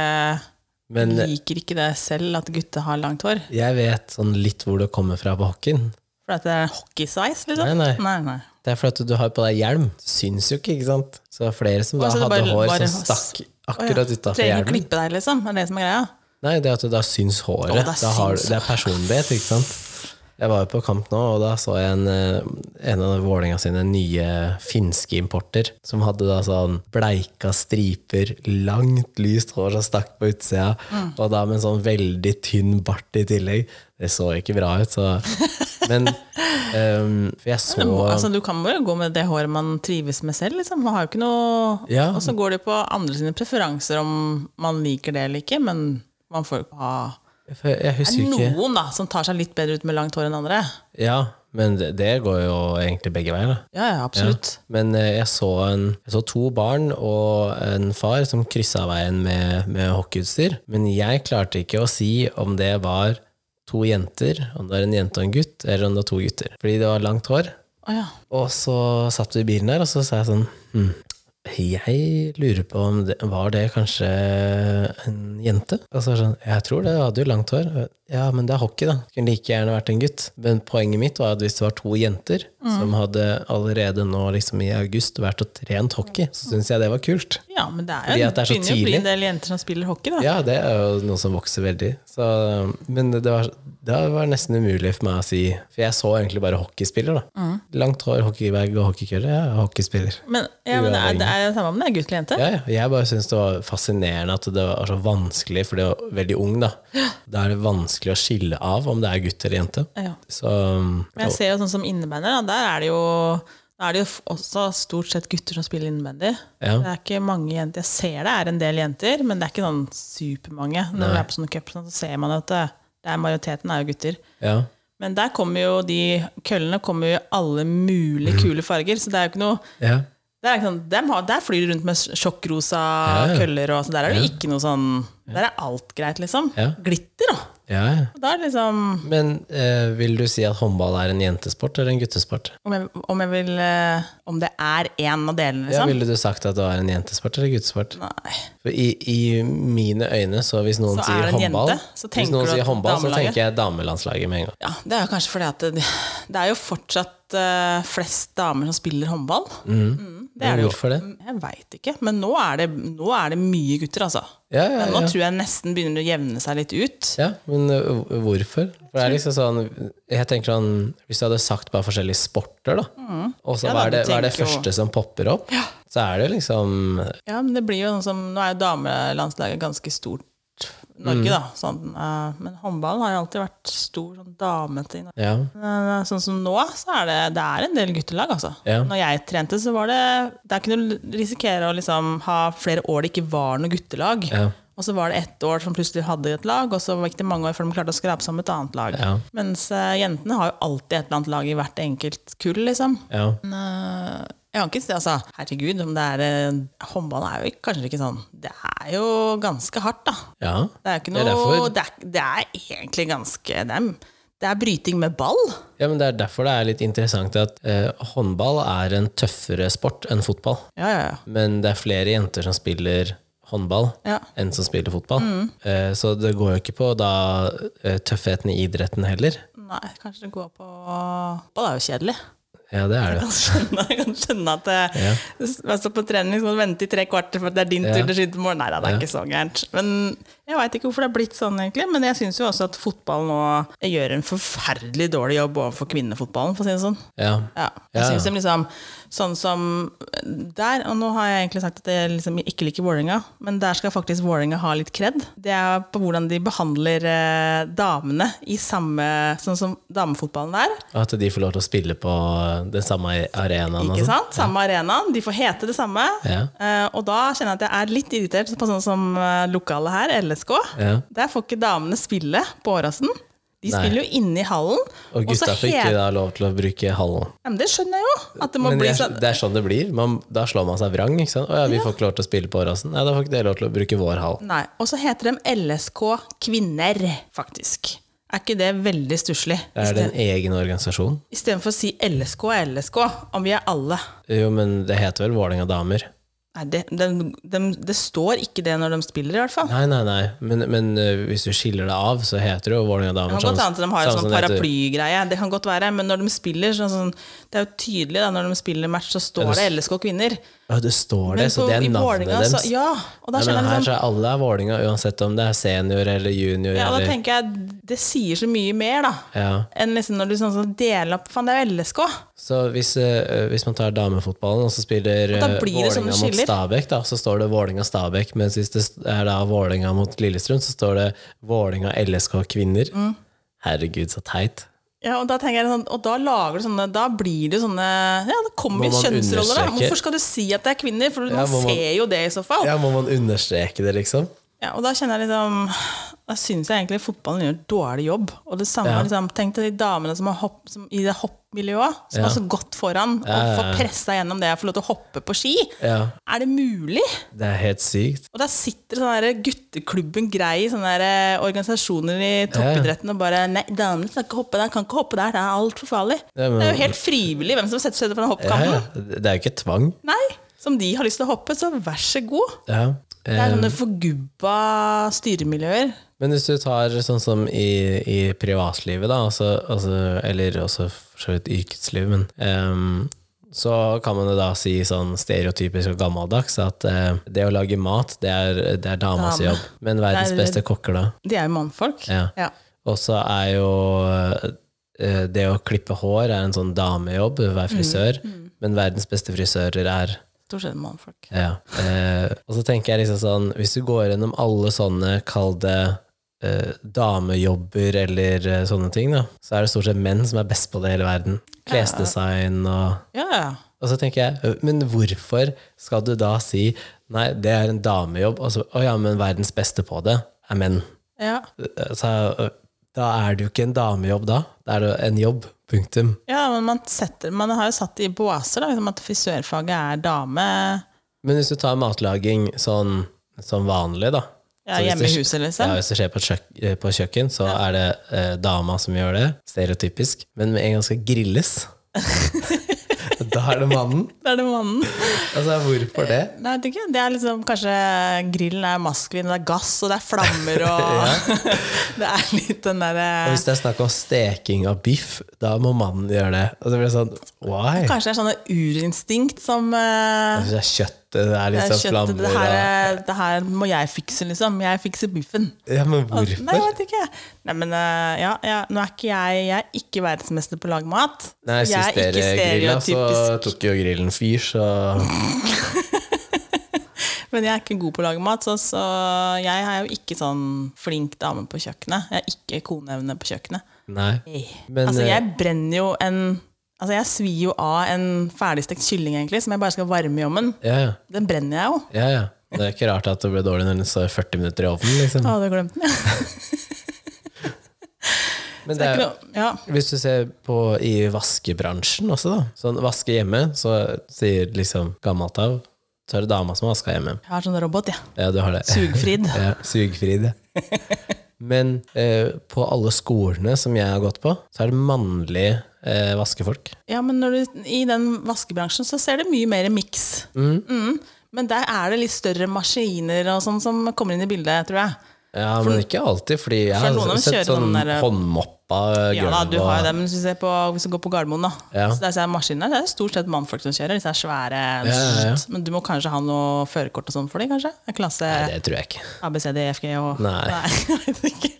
Speaker 1: Men eh,
Speaker 2: liker ikke det selv at gutta har langt hår.
Speaker 1: jeg vet sånn litt hvor det kommer fra på hockeyen.
Speaker 2: For at det er hockeysveis, liksom.
Speaker 1: Nei, nei.
Speaker 2: Nei, nei.
Speaker 1: Det er fordi at du har på deg hjelm. Det syns jo ikke, ikke sant? Så det er flere som da
Speaker 2: Å, så det
Speaker 1: hadde
Speaker 2: bare-
Speaker 1: hår
Speaker 2: bare
Speaker 1: som
Speaker 2: hos-
Speaker 1: stakk akkurat utafor
Speaker 2: Trenger ikke
Speaker 1: hjelmen.
Speaker 2: klippe deg, liksom. Er det som er greia?
Speaker 1: Nei, det at du da syns håret.
Speaker 2: Å, da
Speaker 1: da har,
Speaker 2: syns
Speaker 1: du- det er personlighet, ikke sant? Jeg var jo på kamp nå, og da så jeg en, eh, en av Vålinga sine nye finske importer, som hadde da sånn bleika striper, langt lyst hår som stakk på utsida,
Speaker 2: Mm.
Speaker 1: og da med en sånn veldig tynn bart i tillegg. Det så ikke bra ut, så Men ehm, For jeg så
Speaker 2: Du, må, altså, du kan jo gå med det håret man trives med selv, liksom. Man har jo ikke noe
Speaker 1: Ja.
Speaker 2: Og så går det på andre sine preferanser om man liker det eller ikke, men man får jo ikke ha
Speaker 1: for Jeg husker
Speaker 2: Det er
Speaker 1: ikke
Speaker 2: noen da, som tar seg litt bedre ut med langt hår enn andre.
Speaker 1: Ja, men det, det går jo egentlig begge veier, da.
Speaker 2: Ja, ja, absolutt.
Speaker 1: Men eh, jeg så, en, jeg så to barn og en far som kryssa veien med, med hockeyutstyr. Men jeg klarte ikke å si om det var to jenter, om det var en jente og en gutt, eller om det var to gutter. Fordi det var langt hår.
Speaker 2: Å ja.
Speaker 1: Og så satt vi i bilen der, og så sa jeg sånn hm, Jeg lurer på om det var det kanskje en jente? Og så var det sånn Jeg tror det, hun hadde jo langt hår. Ja, men det er hockey, da. Kunne like gjerne vært en gutt. Men poenget mitt var at hvis det var to jenter som hadde allerede nå liksom i august vært og trent hockey, så syns jeg det var kult.
Speaker 2: ja, men det er
Speaker 1: Fordi
Speaker 2: jo,
Speaker 1: at det er så
Speaker 2: begynner jo å bli
Speaker 1: tidlig.
Speaker 2: en del jenter som spiller hockey, da.
Speaker 1: Ja, det er jo noe som vokser veldig. Så, men det var, det var nesten umulig for meg å si For jeg så egentlig bare hockeyspiller, da. Langt hår, hockeybag og hockeykølle. Ja, hockeyspiller.
Speaker 2: Men, ja, men det, er, det er det samme om det er gutt eller jente.
Speaker 1: Ja, ja. Jeg bare syns det var fascinerende at det var så vanskelig, for det var veldig ung, da. Da er det vanskelig å skille av om det er gutt eller jente.
Speaker 2: Ja.
Speaker 1: Så
Speaker 2: Men jeg ser jo sånn som innebandy, da, der er det jo da er det jo f- også stort sett gutter som spiller innebandy.
Speaker 1: Ja.
Speaker 2: Det er ikke mange jenter. Jeg ser det er en del jenter, men det er ikke sånn supermange. Når vi er på sånne cup, sånn, så ser man at det, det er majoriteten er jo gutter.
Speaker 1: ja.
Speaker 2: Men der kommer jo de køllene kommer jo i alle mulige
Speaker 1: Mm.
Speaker 2: kule farger, så det er jo ikke noe
Speaker 1: ja.
Speaker 2: det er ikke sånn, dem har, Der flyr de rundt med sj- sjokkrosa
Speaker 1: Ja, ja.
Speaker 2: køller, og så der er det ikke noe sånn Der er alt greit, liksom.
Speaker 1: Ja.
Speaker 2: Glitter, da.
Speaker 1: ja. ja.
Speaker 2: Og Da er det liksom
Speaker 1: Men eh, vil du si at håndball er en jentesport eller en guttesport?
Speaker 2: Om jeg, om jeg vil eh, Om det er én av delene,
Speaker 1: Ja,
Speaker 2: liksom?
Speaker 1: ville du sagt at det var en jentesport eller guttesport?
Speaker 2: Nei.
Speaker 1: For i, I mine øyne, så hvis noen
Speaker 2: Så er
Speaker 1: sier
Speaker 2: det en
Speaker 1: håndball,
Speaker 2: jente, så
Speaker 1: hvis
Speaker 2: tenker
Speaker 1: noen
Speaker 2: du
Speaker 1: sier
Speaker 2: at
Speaker 1: håndball så
Speaker 2: damelaget-
Speaker 1: tenker jeg damelandslaget med en gang.
Speaker 2: Ja, det er jo kanskje fordi at det, det er jo fortsatt eh, flest damer som spiller håndball.
Speaker 1: Mhm.
Speaker 2: Mm, det er det jo.
Speaker 1: Hvorfor det?
Speaker 2: Jeg veit ikke, men nå er, det, nå er det mye gutter, altså.
Speaker 1: Ja, ja,
Speaker 2: Nå
Speaker 1: ja.
Speaker 2: tror jeg nesten begynner det å jevne seg litt ut.
Speaker 1: Ja, men ø, hvorfor? For det er liksom sånn Jeg tenker sånn Hvis du hadde sagt bare forskjellige sporter, da, og så
Speaker 2: Mm. Ja,
Speaker 1: hva
Speaker 2: da,
Speaker 1: er det,
Speaker 2: du
Speaker 1: hva er det
Speaker 2: tenker jo-
Speaker 1: første som popper opp, så er det liksom
Speaker 2: Ja, men det blir jo noe som Nå er jo damelandslaget ganske stort. i
Speaker 1: Mhm.
Speaker 2: Norge, da. Sånn, eh, men håndballen har jo alltid vært stor sånn damete i Norge.
Speaker 1: Ja.
Speaker 2: Men, eh, Sånn som nå, så er det, det er en del guttelag, altså.
Speaker 1: Ja.
Speaker 2: Når jeg trente, så var det Der kunne du risikere å liksom ha flere år det ikke var noe guttelag.
Speaker 1: Ja.
Speaker 2: Og så var det ett år som plutselig hadde et lag, og så gikk det mange år før de klarte å skrape sammen et annet lag.
Speaker 1: Ja.
Speaker 2: Mens eh, jentene har jo alltid et eller annet lag i hvert enkelt kull, liksom.
Speaker 1: ja.
Speaker 2: Men, eh, jeg kan ikke si, altså, herregud, om det er eh, Håndball er jo ikke, kanskje ikke sånn Det er jo ganske hardt, da.
Speaker 1: ja.
Speaker 2: Det er jo ikke
Speaker 1: Det er
Speaker 2: noe
Speaker 1: derfor-
Speaker 2: det, er, det er egentlig ganske Det er, det er bryting med ball.
Speaker 1: Ja, men Det er derfor det er litt interessant at ø, håndball er en tøffere sport enn fotball.
Speaker 2: Ja, ja, ja.
Speaker 1: Men det er flere jenter som spiller håndball
Speaker 2: Ja. Mm.
Speaker 1: enn som spiller fotball. Eh, Så det går jo ikke på da eh, tøffheten i idretten heller.
Speaker 2: Nei, kanskje det går på Fotball er jo kjedelig.
Speaker 1: Ja, det er
Speaker 2: Jeg
Speaker 1: det.
Speaker 2: kan skjønne, jeg kan skjønne at det,
Speaker 1: Ja.
Speaker 2: hvis man står på trening, så må du vente i tre kvarter for at det er din
Speaker 1: Ja.
Speaker 2: tur til å skyte mål. Nei da, det er ikke så gærent. Men jeg veit ikke hvorfor det er blitt sånn, egentlig. Men jeg syns jo også at fotball nå gjør en forferdelig dårlig jobb overfor kvinnefotballen, for å si det sånn.
Speaker 1: Ja.
Speaker 2: Ja, jeg
Speaker 1: Ja.
Speaker 2: synes de liksom Sånn som der, og nå har jeg egentlig sagt at jeg liksom ikke liker Vålerenga, men der skal faktisk Vålerenga ha litt kred. Det er på hvordan de behandler eh, damene i samme Sånn som damefotballen der.
Speaker 1: Og at de får lov til å spille på den samme arenaen. sånn.
Speaker 2: Ikke sant? Samme arenaen, de får hete det samme.
Speaker 1: Ja.
Speaker 2: Eh, og da kjenner jeg at jeg er litt irritert på sånn som eh, lokalet her, LSK.
Speaker 1: Ja.
Speaker 2: Der får ikke damene spille på Åråsen. De
Speaker 1: Nei.
Speaker 2: spiller jo inne i hallen.
Speaker 1: Og
Speaker 2: så
Speaker 1: gutta fikk ikke
Speaker 2: het-
Speaker 1: da lov til å bruke hallen.
Speaker 2: Ja, men Det skjønner jeg jo. At det må
Speaker 1: Men det
Speaker 2: bli
Speaker 1: er,
Speaker 2: sånn
Speaker 1: det er sånn det blir. Man, da slår man seg vrang. ikke sant? Å ja, vi får ikke lov til å spille på Åråsen. Nei, da får ikke dere lov til å bruke vår hall.
Speaker 2: Nei, og så heter de LSK Kvinner, faktisk. Er ikke det veldig stusslig?
Speaker 1: Det er det en egen organisasjon?
Speaker 2: Istedenfor å si LSK er LSK, om vi er alle.
Speaker 1: Jo, men det heter vel Vålerenga damer?
Speaker 2: Nei, det, dem- dem- det står ikke det når de spiller, i hvert fall.
Speaker 1: Nei, nei, nei. Men, men øh, hvis du skiller det av, så heter det jo Vålerenga
Speaker 2: Det
Speaker 1: damer.
Speaker 2: kan godt hende at de har en
Speaker 1: samme
Speaker 2: sånn
Speaker 1: som det heter-
Speaker 2: paraplygreie, det kan godt være. Men når de spiller, sånn, sånn, det er jo tydelig da, når de spiller match, så står det LSK Kvinner.
Speaker 1: Ja, det står det, så
Speaker 2: på-
Speaker 1: det er
Speaker 2: i
Speaker 1: navnet
Speaker 2: Vålerenga,
Speaker 1: deres.
Speaker 2: så- Ja, og
Speaker 1: Nei,
Speaker 2: da
Speaker 1: men
Speaker 2: skjønner jeg
Speaker 1: her
Speaker 2: liksom
Speaker 1: så er alle er Vålerenga, uansett om det er senior eller junior.
Speaker 2: ja, Da
Speaker 1: eller,
Speaker 2: tenker jeg det sier så mye mer, da.
Speaker 1: ja.
Speaker 2: Enn liksom når du sånn, sånn deler opp Faen, det er jo LSK!
Speaker 1: Så hvis, øh, hvis man tar damefotballen, og så spiller
Speaker 2: Og da
Speaker 1: øh,
Speaker 2: blir det sånne
Speaker 1: Vålerenga mot
Speaker 2: skiller.
Speaker 1: Stabæk, da, så står det Vålerenga-Stabæk. Mens hvis det er da Vålerenga mot Lillestrøm, så står det Vålerenga-LSK-kvinner.
Speaker 2: Mm.
Speaker 1: Herregud, så teit.
Speaker 2: Ja, og da tenker jeg sånn, og da lager du sånne Da blir det sånne Ja, det
Speaker 1: Må
Speaker 2: kommer jo
Speaker 1: man
Speaker 2: kjønnsroller, da.
Speaker 1: understreke?
Speaker 2: Hvorfor skal du si at det er kvinner? For
Speaker 1: Ja,
Speaker 2: man,
Speaker 1: må man-
Speaker 2: ser jo det i så fall. Ja.
Speaker 1: Ja, må man understreke det, liksom?
Speaker 2: og da kjenner jeg liksom Da syns jeg egentlig fotballen gjør en dårlig jobb. Og det samme
Speaker 1: Ja.
Speaker 2: liksom, Tenk til de damene som har hopp, som, i det hoppmiljøet, som
Speaker 1: Ja.
Speaker 2: har så godt foran,
Speaker 1: ja,
Speaker 2: og
Speaker 1: ja.
Speaker 2: får pressa gjennom det og får lov til å hoppe på ski.
Speaker 1: Ja,
Speaker 2: Er det mulig?
Speaker 1: det er helt sykt.
Speaker 2: Og der sitter sånn der gutteklubben grei, sånne der eh, organisasjoner i toppidretten og bare Nei, damene skal ikke hoppe der, kan ikke hoppe der, det er altfor farlig.
Speaker 1: Ja, men-
Speaker 2: Det er jo helt frivillig hvem som setter seg foran
Speaker 1: Ja,
Speaker 2: hoppkampen.
Speaker 1: ja. Det er jo ikke tvang.
Speaker 2: Nei, som de har lyst til å hoppe, så vær så god.
Speaker 1: Ja.
Speaker 2: Det
Speaker 1: Eh,
Speaker 2: er sånne forgubba styremiljøer.
Speaker 1: Men hvis du tar sånn som i, i privatlivet, da, altså, altså, eller også for så vidt yrkesliv, men ehm, så kan man jo da si sånn stereotypisk og gammeldags at eh, det å lage mat, det er, det er damas
Speaker 2: Dame.
Speaker 1: jobb. Men verdens
Speaker 2: Det er-
Speaker 1: beste kokker, da.
Speaker 2: De er jo mannfolk.
Speaker 1: Ja.
Speaker 2: Ja.
Speaker 1: Og så er jo eh, det å klippe hår er en sånn damejobb, være
Speaker 2: Mm,
Speaker 1: frisør, men verdens beste frisører er
Speaker 2: Stort sett mannfolk.
Speaker 1: ja. Eh, og så tenker jeg liksom sånn Hvis du går gjennom alle sånne, kall det eh, damejobber eller eh, sånne ting, da, så er det stort sett menn som er best på det i hele verden. Klesdesign og
Speaker 2: Ja, ja.
Speaker 1: Og så tenker jeg, «Øh, men hvorfor skal du da si nei, det er en damejobb, og så å ja, men verdens beste på det er menn.
Speaker 2: Ja,
Speaker 1: Eh, Så eh, da er det jo ikke en damejobb, da. Da er det en jobb. Punktum.
Speaker 2: ja men man, setter, man har jo satt det i båser, da, liksom at frisørfaget er dame
Speaker 1: Men hvis du tar matlaging sånn, sånn vanlig, da
Speaker 2: ja,
Speaker 1: så hvis
Speaker 2: hjemme i
Speaker 1: det-
Speaker 2: huset, liksom.
Speaker 1: Ja, hvis det skjer på, et kjøk eh, på kjøkken, så er det eh, dama som gjør det, stereotypisk. Men med en gang skal grilles, [laughs] da er det mannen.
Speaker 2: Det er det mannen.
Speaker 1: Altså, hvorfor det?
Speaker 2: Nei, jeg vet ikke. Det er liksom kanskje grillen er maskulin, og det er gass, og det er flammer,
Speaker 1: [laughs]
Speaker 2: og [laughs] Det er litt den
Speaker 1: Og
Speaker 2: derre
Speaker 1: hvis det er snakk om steking av biff, da må mannen gjøre det. Og så blir det sånn, why?
Speaker 2: Kanskje det er sånne urinstinkt som eh,
Speaker 1: Hvis det er kjøttet, det er
Speaker 2: det
Speaker 1: litt
Speaker 2: er
Speaker 1: sånn
Speaker 2: kjøttet, det
Speaker 1: flammer
Speaker 2: her,
Speaker 1: og
Speaker 2: er- det her må jeg fikse, liksom. Jeg fikser biffen.
Speaker 1: Ja, men
Speaker 2: Og- Nei, jeg
Speaker 1: hvorfor?
Speaker 2: vet ikke. Nei, men eh, ja, ja, nå er ikke jeg Jeg er ikke verdensmester på å lage mat.
Speaker 1: Nei,
Speaker 2: jeg
Speaker 1: sist
Speaker 2: er
Speaker 1: dere
Speaker 2: ikke
Speaker 1: grilla, så
Speaker 2: stereotypisk,
Speaker 1: tok jo grillen fyr, så
Speaker 2: men jeg er ikke god på å lage mat, så, så jeg er jo ikke sånn flink dame på kjøkkenet. Jeg er ikke koneevne på kjøkkenet.
Speaker 1: Nei. Men,
Speaker 2: altså,
Speaker 1: eh,
Speaker 2: jeg brenner jo en Altså, jeg svir jo av en ferdigstekt kylling, egentlig, som jeg bare skal varme i ovnen.
Speaker 1: Ja, ja.
Speaker 2: Den brenner jeg jo.
Speaker 1: ja, ja. Det er ikke rart at det ble dårlig når den står 40 minutter i ovnen, liksom.
Speaker 2: Jeg hadde glemt den, jeg.
Speaker 1: Men
Speaker 2: Det
Speaker 1: det
Speaker 2: er
Speaker 1: er,
Speaker 2: ikke noe- Ja.
Speaker 1: Hvis du ser på i vaskebransjen også, da. Sånn vaske hjemme, så sier liksom gammelt av, så er det dama som har vaska hjemme.
Speaker 2: Jeg har sånn robot, jeg.
Speaker 1: Ja, du har det.
Speaker 2: Sugfrid.
Speaker 1: [laughs] Ja, sugfrid, ja. Men eh, på alle skolene som jeg har gått på, så er det mannlige eh, vaskefolk.
Speaker 2: Ja, men når du, i den vaskebransjen så ser det mye mer Mm. miks. Mm. Men der er det litt større maskiner og sånn som kommer inn i bildet, tror jeg.
Speaker 1: Ja, men ikke alltid, fordi jeg
Speaker 2: For noen av
Speaker 1: har
Speaker 2: dem
Speaker 1: sett
Speaker 2: kjører
Speaker 1: sånn
Speaker 2: sånn der-
Speaker 1: håndmoppa
Speaker 2: Ja da, du har jo det, men hvis du ser på, hvis du går på Gardermoen, da.
Speaker 1: Ja.
Speaker 2: Så det er sånn maskiner, det er stort sett mannfolk som kjører. Disse er svære
Speaker 1: ja, ja.
Speaker 2: Men du må kanskje ha noe førerkort og sånn for dem, kanskje? En klasse
Speaker 1: Nei, det tror jeg ikke.
Speaker 2: ABCD, FG E og
Speaker 1: Nei.
Speaker 2: [laughs] jeg vet ikke.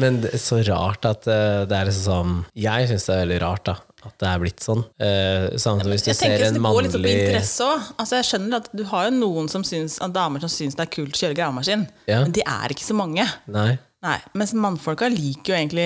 Speaker 1: Men det er så rart at eh, det er liksom sånn Jeg syns det er veldig rart da at det er blitt sånn. Eh, Samme som hvis du
Speaker 2: Jeg
Speaker 1: ser
Speaker 2: tenker
Speaker 1: en
Speaker 2: det går litt opp i
Speaker 1: mannlig
Speaker 2: interesse også. Altså, jeg skjønner at du har jo noen som syns, at damer som syns det er kult å kjøre gravemaskin,
Speaker 1: Ja.
Speaker 2: men de er ikke så mange.
Speaker 1: Nei.
Speaker 2: Nei, Mens mannfolka liker jo egentlig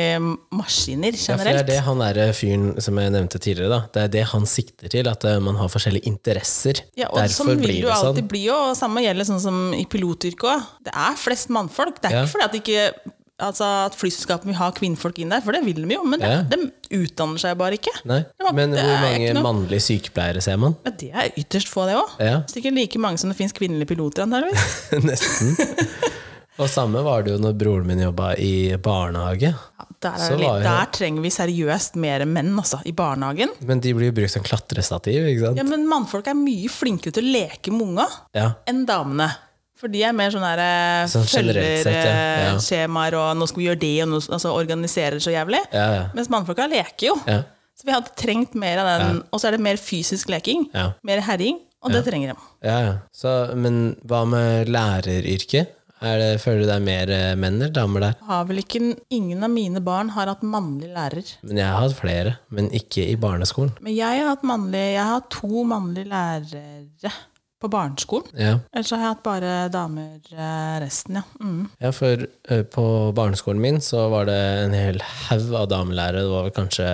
Speaker 2: maskiner
Speaker 1: Ja, for det er
Speaker 2: generelt.
Speaker 1: det han derre fyren som jeg nevnte tidligere, da. Det er det han sikter til, at eh, man har forskjellige interesser.
Speaker 2: Ja, og
Speaker 1: Derfor
Speaker 2: sånn vil
Speaker 1: blir
Speaker 2: du
Speaker 1: det
Speaker 2: alltid
Speaker 1: sånn.
Speaker 2: bli, og samme gjelder sånn som i pilotyrket òg. Det er flest mannfolk. Det er
Speaker 1: Ja.
Speaker 2: ikke fordi at, ikke, altså, at flyselskapene vil ha kvinnfolk inn der, for det vil de jo, men
Speaker 1: Ja.
Speaker 2: de, de utdanner seg bare ikke.
Speaker 1: Nei.
Speaker 2: Det var-
Speaker 1: Men
Speaker 2: det
Speaker 1: hvor
Speaker 2: er
Speaker 1: mange
Speaker 2: ikke noe-
Speaker 1: mannlige sykepleiere ser man? [laughs]
Speaker 2: Ja, det er ytterst få, det òg.
Speaker 1: Ja.
Speaker 2: Sikkert like mange som det fins kvinnelige piloter, antakeligvis.
Speaker 1: Nesten.
Speaker 2: [laughs]
Speaker 1: Og samme var det jo når broren min jobba i barnehage.
Speaker 2: Ja, der, er
Speaker 1: Så
Speaker 2: det
Speaker 1: var
Speaker 2: litt,
Speaker 1: jeg-
Speaker 2: der trenger vi seriøst mer menn, altså, i barnehagen.
Speaker 1: Men de blir jo brukt som klatrestativ, ikke sant?
Speaker 2: Ja, men mannfolk er mye flinkere til å leke med unga
Speaker 1: Ja.
Speaker 2: enn damene. For de er mer sånn der eh,
Speaker 1: Sånn generelt
Speaker 2: følger
Speaker 1: sett, ja.
Speaker 2: eh,
Speaker 1: Ja.
Speaker 2: skjemaer og 'nå skal vi gjøre det', og nå, altså, organiserer så jævlig.
Speaker 1: Ja, ja.
Speaker 2: Mens mannfolka leker jo.
Speaker 1: ja.
Speaker 2: Så vi hadde trengt mer av den. Og så er det mer fysisk leking.
Speaker 1: Ja.
Speaker 2: Mer herjing. Og det trenger de.
Speaker 1: Ja, ja. Så, men hva med læreryrket? Er det, føler du det er mer eh, menn eller damer der?
Speaker 2: Har vel ikke, ingen av mine barn har hatt mannlig lærer.
Speaker 1: Men jeg har hatt flere, men ikke i barneskolen.
Speaker 2: Men jeg har hatt mannlig, jeg har hatt to mannlige lærere på barneskolen.
Speaker 1: Ja,
Speaker 2: Ellers har jeg hatt bare damer eh, resten, ja. Mm.
Speaker 1: ja for eh, på barneskolen min så var det en hel haug av damelærere. Det var vel kanskje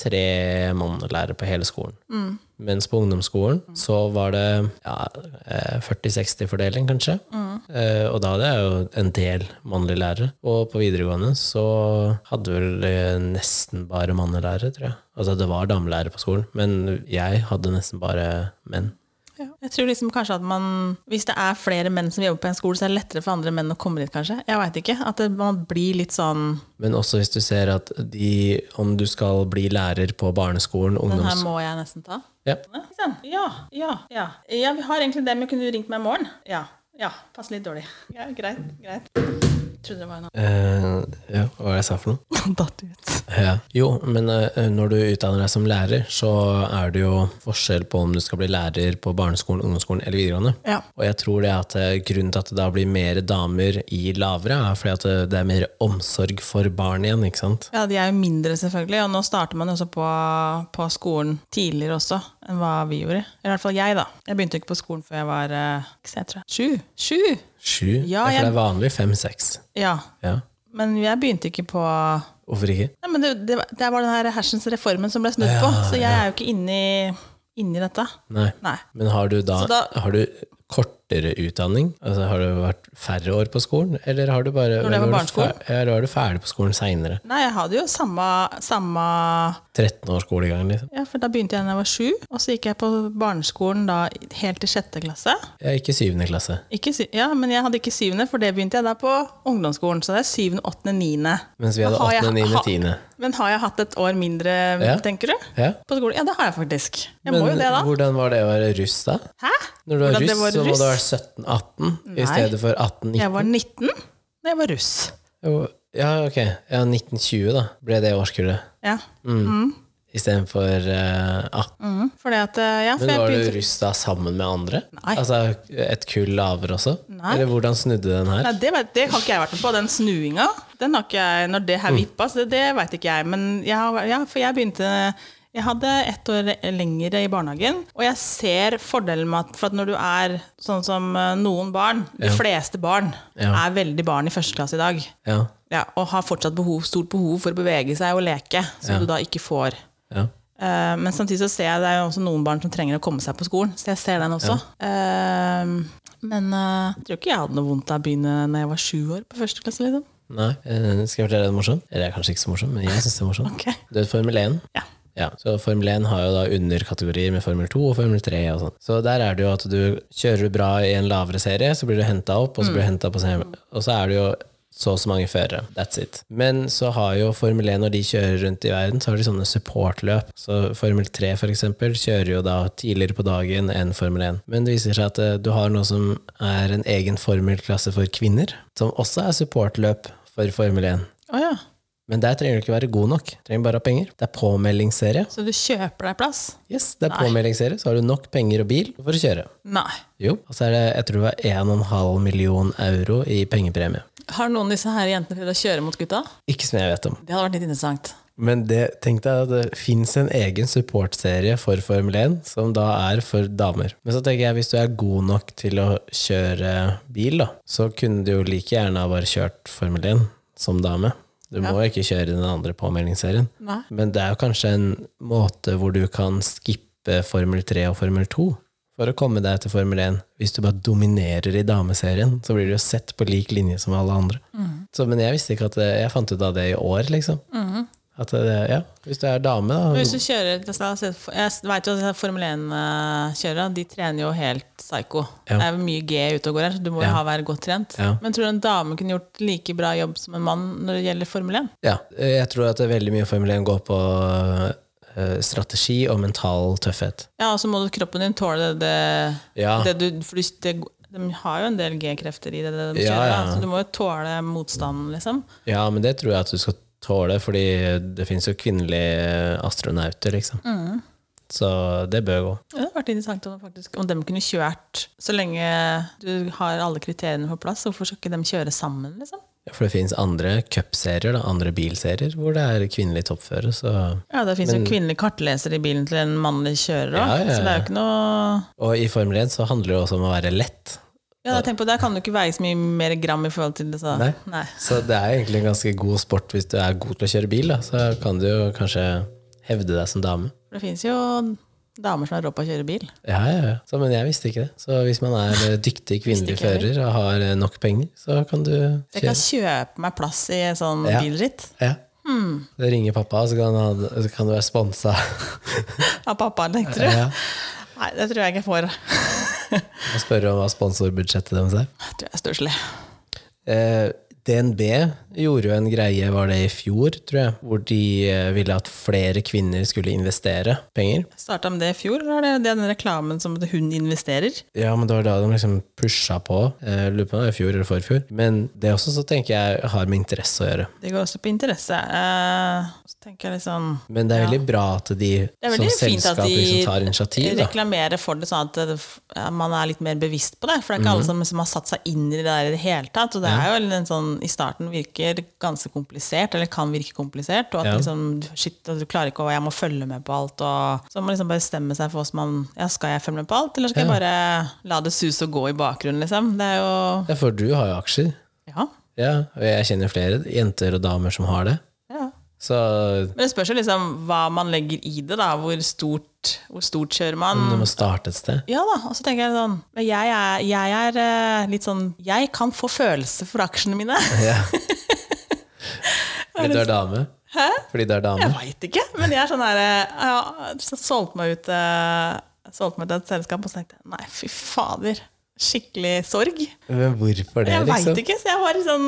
Speaker 1: tre mannlærere på hele skolen.
Speaker 2: Mm.
Speaker 1: Mens på ungdomsskolen så var det ja, eh, 40-60-fordeling, kanskje.
Speaker 2: Mm.
Speaker 1: Eh, Og da hadde jeg jo en del mannlige lærere. Og på videregående så hadde vel eh, nesten bare mannlige lærere, tror jeg. Altså det var damelærere på skolen, men jeg hadde nesten bare menn.
Speaker 2: Ja. Jeg tror liksom kanskje at man Hvis det er flere menn som jobber på en skole, så er det lettere for andre menn å komme dit, kanskje. Jeg veit ikke. At det, man blir litt sånn
Speaker 1: Men også hvis du ser at de, om du skal bli lærer på barneskolen,
Speaker 2: Den her
Speaker 1: ungdoms...
Speaker 2: må jeg nesten ta.
Speaker 1: Ja.
Speaker 2: Ikke sant? Ja, ja, ja. Ja, vi har egentlig det, men kunne du ringt meg i morgen? Ja. Ja. Passer litt dårlig. Ja, greit. Greit. Trodde det var en
Speaker 1: Eh, ja, hva var det jeg sa for noe?
Speaker 2: annen. [laughs] Datt ut.
Speaker 1: Ja. Jo, men eh, når du utdanner deg som lærer, så er det jo forskjell på om du skal bli lærer på barneskolen, ungdomsskolen eller videregående.
Speaker 2: Ja.
Speaker 1: Og jeg tror det at eh, grunnen til at det da blir mer damer i lavere, er fordi at eh, det er mer omsorg for barn igjen, ikke sant?
Speaker 2: Ja, de er jo mindre selvfølgelig, og nå starter man jo også på, på skolen tidligere også enn hva vi gjorde. Eller i hvert fall jeg, da. Jeg begynte jo ikke på skolen før jeg var eh, ikke så jeg tror jeg- sju. Sju!
Speaker 1: Sju? Ja,
Speaker 2: Ja,
Speaker 1: for
Speaker 2: jeg-
Speaker 1: det er vanlig fem-seks.
Speaker 2: Ja.
Speaker 1: Ja.
Speaker 2: Men jeg begynte ikke på Nei,
Speaker 1: Hvorfor ikke?
Speaker 2: men det, det, var- det var den her hersens reformen som ble snudd på, så jeg er jo ikke inni, inni dette.
Speaker 1: Nei.
Speaker 2: Nei.
Speaker 1: Men har du da,
Speaker 2: Så da-
Speaker 1: har du kortere utdanning? Altså, har du vært færre år på skolen, eller har du bare
Speaker 2: Når det var
Speaker 1: eller du
Speaker 2: barneskolen?
Speaker 1: fer- ja, Eller var du ferdig på skolen seinere?
Speaker 2: Nei, jeg hadde jo samme, samme
Speaker 1: 13 år skolegang, liksom?
Speaker 2: Ja, for da begynte jeg da jeg var sju, og så gikk jeg på barneskolen da helt til sjette klasse.
Speaker 1: Ja, ikke syvende klasse.
Speaker 2: Ikke sy ja, men jeg hadde ikke syvende, for det begynte jeg da på ungdomsskolen. Så det er syvende, åttende, niende.
Speaker 1: Mens vi hadde
Speaker 2: Da har jeg-
Speaker 1: åttende, niende,
Speaker 2: ha-
Speaker 1: tiende.
Speaker 2: Men har jeg hatt et år mindre,
Speaker 1: Ja.
Speaker 2: tenker du?
Speaker 1: Ja.
Speaker 2: På skolen? Ja, det har jeg faktisk. Jeg
Speaker 1: Men
Speaker 2: må jo det, da.
Speaker 1: hvordan var det å være russ, da?
Speaker 2: Hæ?
Speaker 1: Når du var
Speaker 2: Hvordan det
Speaker 1: russ,
Speaker 2: var
Speaker 1: så må
Speaker 2: russ?
Speaker 1: du ha vært 17-18 i
Speaker 2: Nei.
Speaker 1: stedet for 18-19.
Speaker 2: Jeg var 19 da jeg var russ.
Speaker 1: Jo, Ja, ok. Ja, 1920, da, ble det årskullet.
Speaker 2: Ja.
Speaker 1: Mm. Istedenfor uh, 18.
Speaker 2: Mm. Fordi at, eh, ja, for
Speaker 1: Men
Speaker 2: jeg
Speaker 1: var du
Speaker 2: begynte...
Speaker 1: russ da sammen med andre?
Speaker 2: Nei.
Speaker 1: Altså et kull lavere også?
Speaker 2: Nei.
Speaker 1: Eller hvordan snudde den her?
Speaker 2: Nei, det, vet, det har ikke jeg vært med på. Den snuinga, den har ikke jeg, når det her vippa, så det, det veit ikke jeg. Men jeg, har- ja, for jeg begynte Jeg hadde ett år lengre i barnehagen, og jeg ser fordelen med at For at når du er sånn som eh, noen barn, de fleste barn,
Speaker 1: Ja.
Speaker 2: er veldig barn i første klasse i dag,
Speaker 1: Ja,
Speaker 2: ja, og har fortsatt behov, stort behov for å bevege seg og leke, som du da ikke får.
Speaker 1: ja.
Speaker 2: Eh, men samtidig så ser jeg det er jo også noen barn som trenger å komme seg på skolen, så jeg ser den også. Eh, men eh, jeg tror ikke jeg hadde noe vondt av å begynne når jeg var sju år på første klasse. liksom.
Speaker 1: Nei, eh, skal jeg fortelle deg en morsom? Eller det er kanskje ikke så morsom, men jeg synes det er morsom.
Speaker 2: Ok.
Speaker 1: Du vet Formel 1?
Speaker 2: Ja.
Speaker 1: Ja, så Formel 1 har jo da underkategorier med Formel 2 og Formel 3 og sånn. Så der er det jo at du kjører du bra i en lavere serie, så blir du hentet opp, og så blir du hentet på serie. Og så er det jo så og så mange førere. That's it. Men så har jo Formel 1, når de kjører rundt i verden, så har de sånne supportløp. Så Formel 3 for eksempel, kjører jo da tidligere på dagen enn Formel 1. Men det viser seg at eh, du har noe som er en egen formelklasse for kvinner, som også er supportløp for Formel 1.
Speaker 2: Å ja.
Speaker 1: Men der trenger du ikke være god nok. Trenger bare ha penger. Det er påmeldingsserie.
Speaker 2: Så du kjøper deg plass?
Speaker 1: Yes, det er påmeldingsserie. Så har du nok penger og bil for å kjøre.
Speaker 2: Nei.
Speaker 1: Jo, og så er det, jeg tror det var 1,5 million euro i pengepremie.
Speaker 2: Har noen av disse her jentene prøvd å kjøre mot gutta?
Speaker 1: Ikke som jeg vet om.
Speaker 2: Det hadde vært litt interessant.
Speaker 1: Men det, tenk deg at det fins en egen supportserie for Formel 1, som da er for damer. Men så tenker jeg, hvis du er god nok til å kjøre bil, da, så kunne du jo like gjerne ha bare kjørt Formel 1 som dame. Du må jo ikke kjøre den andre påmeldingsserien.
Speaker 2: Nei.
Speaker 1: Men det er jo kanskje en måte hvor du kan skippe Formel 3 og Formel 2 for å komme deg til Formel 1. Hvis du bare dominerer i dameserien, så blir du jo sett på lik linje som alle andre.
Speaker 2: Mm.
Speaker 1: Så, men jeg visste ikke at det, jeg fant ut av det i år, liksom. At det, ja, hvis du er dame, da.
Speaker 2: Mm. Hvis du kjører, la oss si- Jeg vet jo at disse Formel 1-kjørere de trener jo helt psyko.
Speaker 1: Ja.
Speaker 2: Det er mye G ute og går her, så du må jo ha være godt trent.
Speaker 1: Ja.
Speaker 2: Men tror du en dame kunne gjort like bra jobb som en mann når det gjelder Formel 1?
Speaker 1: Ja, jeg tror at det er veldig mye Formel 1 går på eh, strategi og mental tøffhet.
Speaker 2: Ja, og så må du kroppen din tåle det, det,
Speaker 1: Ja.
Speaker 2: det du For du- det, de har jo en del G-krefter i det, det de
Speaker 1: Ja,
Speaker 2: kjører, da,
Speaker 1: ja.
Speaker 2: så du må jo tåle motstanden, liksom.
Speaker 1: Ja, men det tror jeg at du skal tåle, fordi det finnes jo kvinnelige astronauter, liksom.
Speaker 2: Mm.
Speaker 1: Så det bør gå.
Speaker 2: Ja, Det hadde vært interessant om, faktisk, om de kunne kjørt Så lenge du har alle kriteriene på plass, hvorfor skal ikke de kjøre sammen? liksom?
Speaker 1: Ja, For det finnes andre cupserier, da, andre bilserier, hvor det er kvinnelig toppfører. Så.
Speaker 2: Ja, Det fins jo kvinnelige kartlesere i bilen til en mannlig kjører òg,
Speaker 1: Ja, ja,
Speaker 2: så det er
Speaker 1: ja.
Speaker 2: jo ikke noe
Speaker 1: Og i Formel 1 så handler det også om å være lett.
Speaker 2: Ja, da, tenk på, Der kan du ikke veie så mye mer gram i forhold til det. Så.
Speaker 1: Nei. Så det er egentlig en ganske god sport hvis du er god til å kjøre bil, da. Så kan du jo kanskje hevde deg som dame.
Speaker 2: For det fins jo damer som har råd på å kjøre bil.
Speaker 1: Ja, ja, ja. Så, men jeg visste ikke det. Så hvis man er
Speaker 2: [laughs]
Speaker 1: eh, dyktig kvinnelig
Speaker 2: ikke heller.
Speaker 1: fører og har eh, nok penger, så kan du kjøre.
Speaker 2: Jeg kan kjøpe meg plass i sånn
Speaker 1: Ja.
Speaker 2: bilritt
Speaker 1: Ja.
Speaker 2: Hmm.
Speaker 1: Da ringer pappa, så kan, han, så kan du være
Speaker 2: [laughs]
Speaker 1: sponsa.
Speaker 2: av pappaen, tenkte du.
Speaker 1: ja.
Speaker 2: Nei, det tror jeg ikke jeg får.
Speaker 1: Og spørre om hva sponsorbudsjettet deres er.
Speaker 2: Jeg tror jeg er stusslig.
Speaker 1: Eh, DNB gjorde jo en greie, var det i fjor, tror jeg, hvor de eh, ville at flere kvinner skulle investere penger.
Speaker 2: Starta med det i fjor, eller er det den reklamen som at hun investerer?
Speaker 1: Ja, men det var da de liksom pusha på. Eh, lurer på om det var i fjor eller forfjor. Men det også så tenker jeg har med interesse å gjøre.
Speaker 2: Det går også på interesse. Eh, så tenker jeg litt sånn
Speaker 1: Men det er veldig bra at de
Speaker 2: Det er
Speaker 1: som
Speaker 2: veldig fint
Speaker 1: selskap
Speaker 2: at de
Speaker 1: liksom tar initiativ. Da.
Speaker 2: reklamerer for det, sånn at det- ja, man er litt mer bevisst på det. For det er ikke alle
Speaker 1: Mhm.
Speaker 2: som, som har satt seg inn i det der i det hele tatt. Og det er jo en sånn, i starten virker ganske komplisert, eller kan virke komplisert. Og at
Speaker 1: Ja.
Speaker 2: liksom, shit, at du klarer ikke å Jeg må følge med på alt. Og, så må man liksom bare bestemme seg for hvordan man ja, Skal jeg følge med på alt, eller skal jeg bare la det suse og gå i bakgrunnen, liksom? Det er jo
Speaker 1: Ja, for du har jo aksjer.
Speaker 2: Ja.
Speaker 1: Ja, og jeg kjenner flere jenter og damer som har det.
Speaker 2: ja.
Speaker 1: Så
Speaker 2: Men det spørs jo liksom hva man legger i det, da. Hvor stort, hvor stort kjører man?
Speaker 1: du må starte et
Speaker 2: [laughs]
Speaker 1: sted.
Speaker 2: Ja da, og så tenker jeg sånn men Jeg er, jeg er eh, litt sånn Jeg kan få følelse for aksjene mine. [laughs]
Speaker 1: Ja. Fordi du er dame? Hæ? Fordi du er dame?
Speaker 2: Jeg veit ikke, men jeg er sånn her eh, ja, så solgte meg ut eh, Solgte meg til et selskap, og så tenkte jeg nei, fy fader. Skikkelig sorg.
Speaker 1: Men hvorfor det,
Speaker 2: Jeg veit
Speaker 1: liksom?
Speaker 2: ikke, så jeg var sånn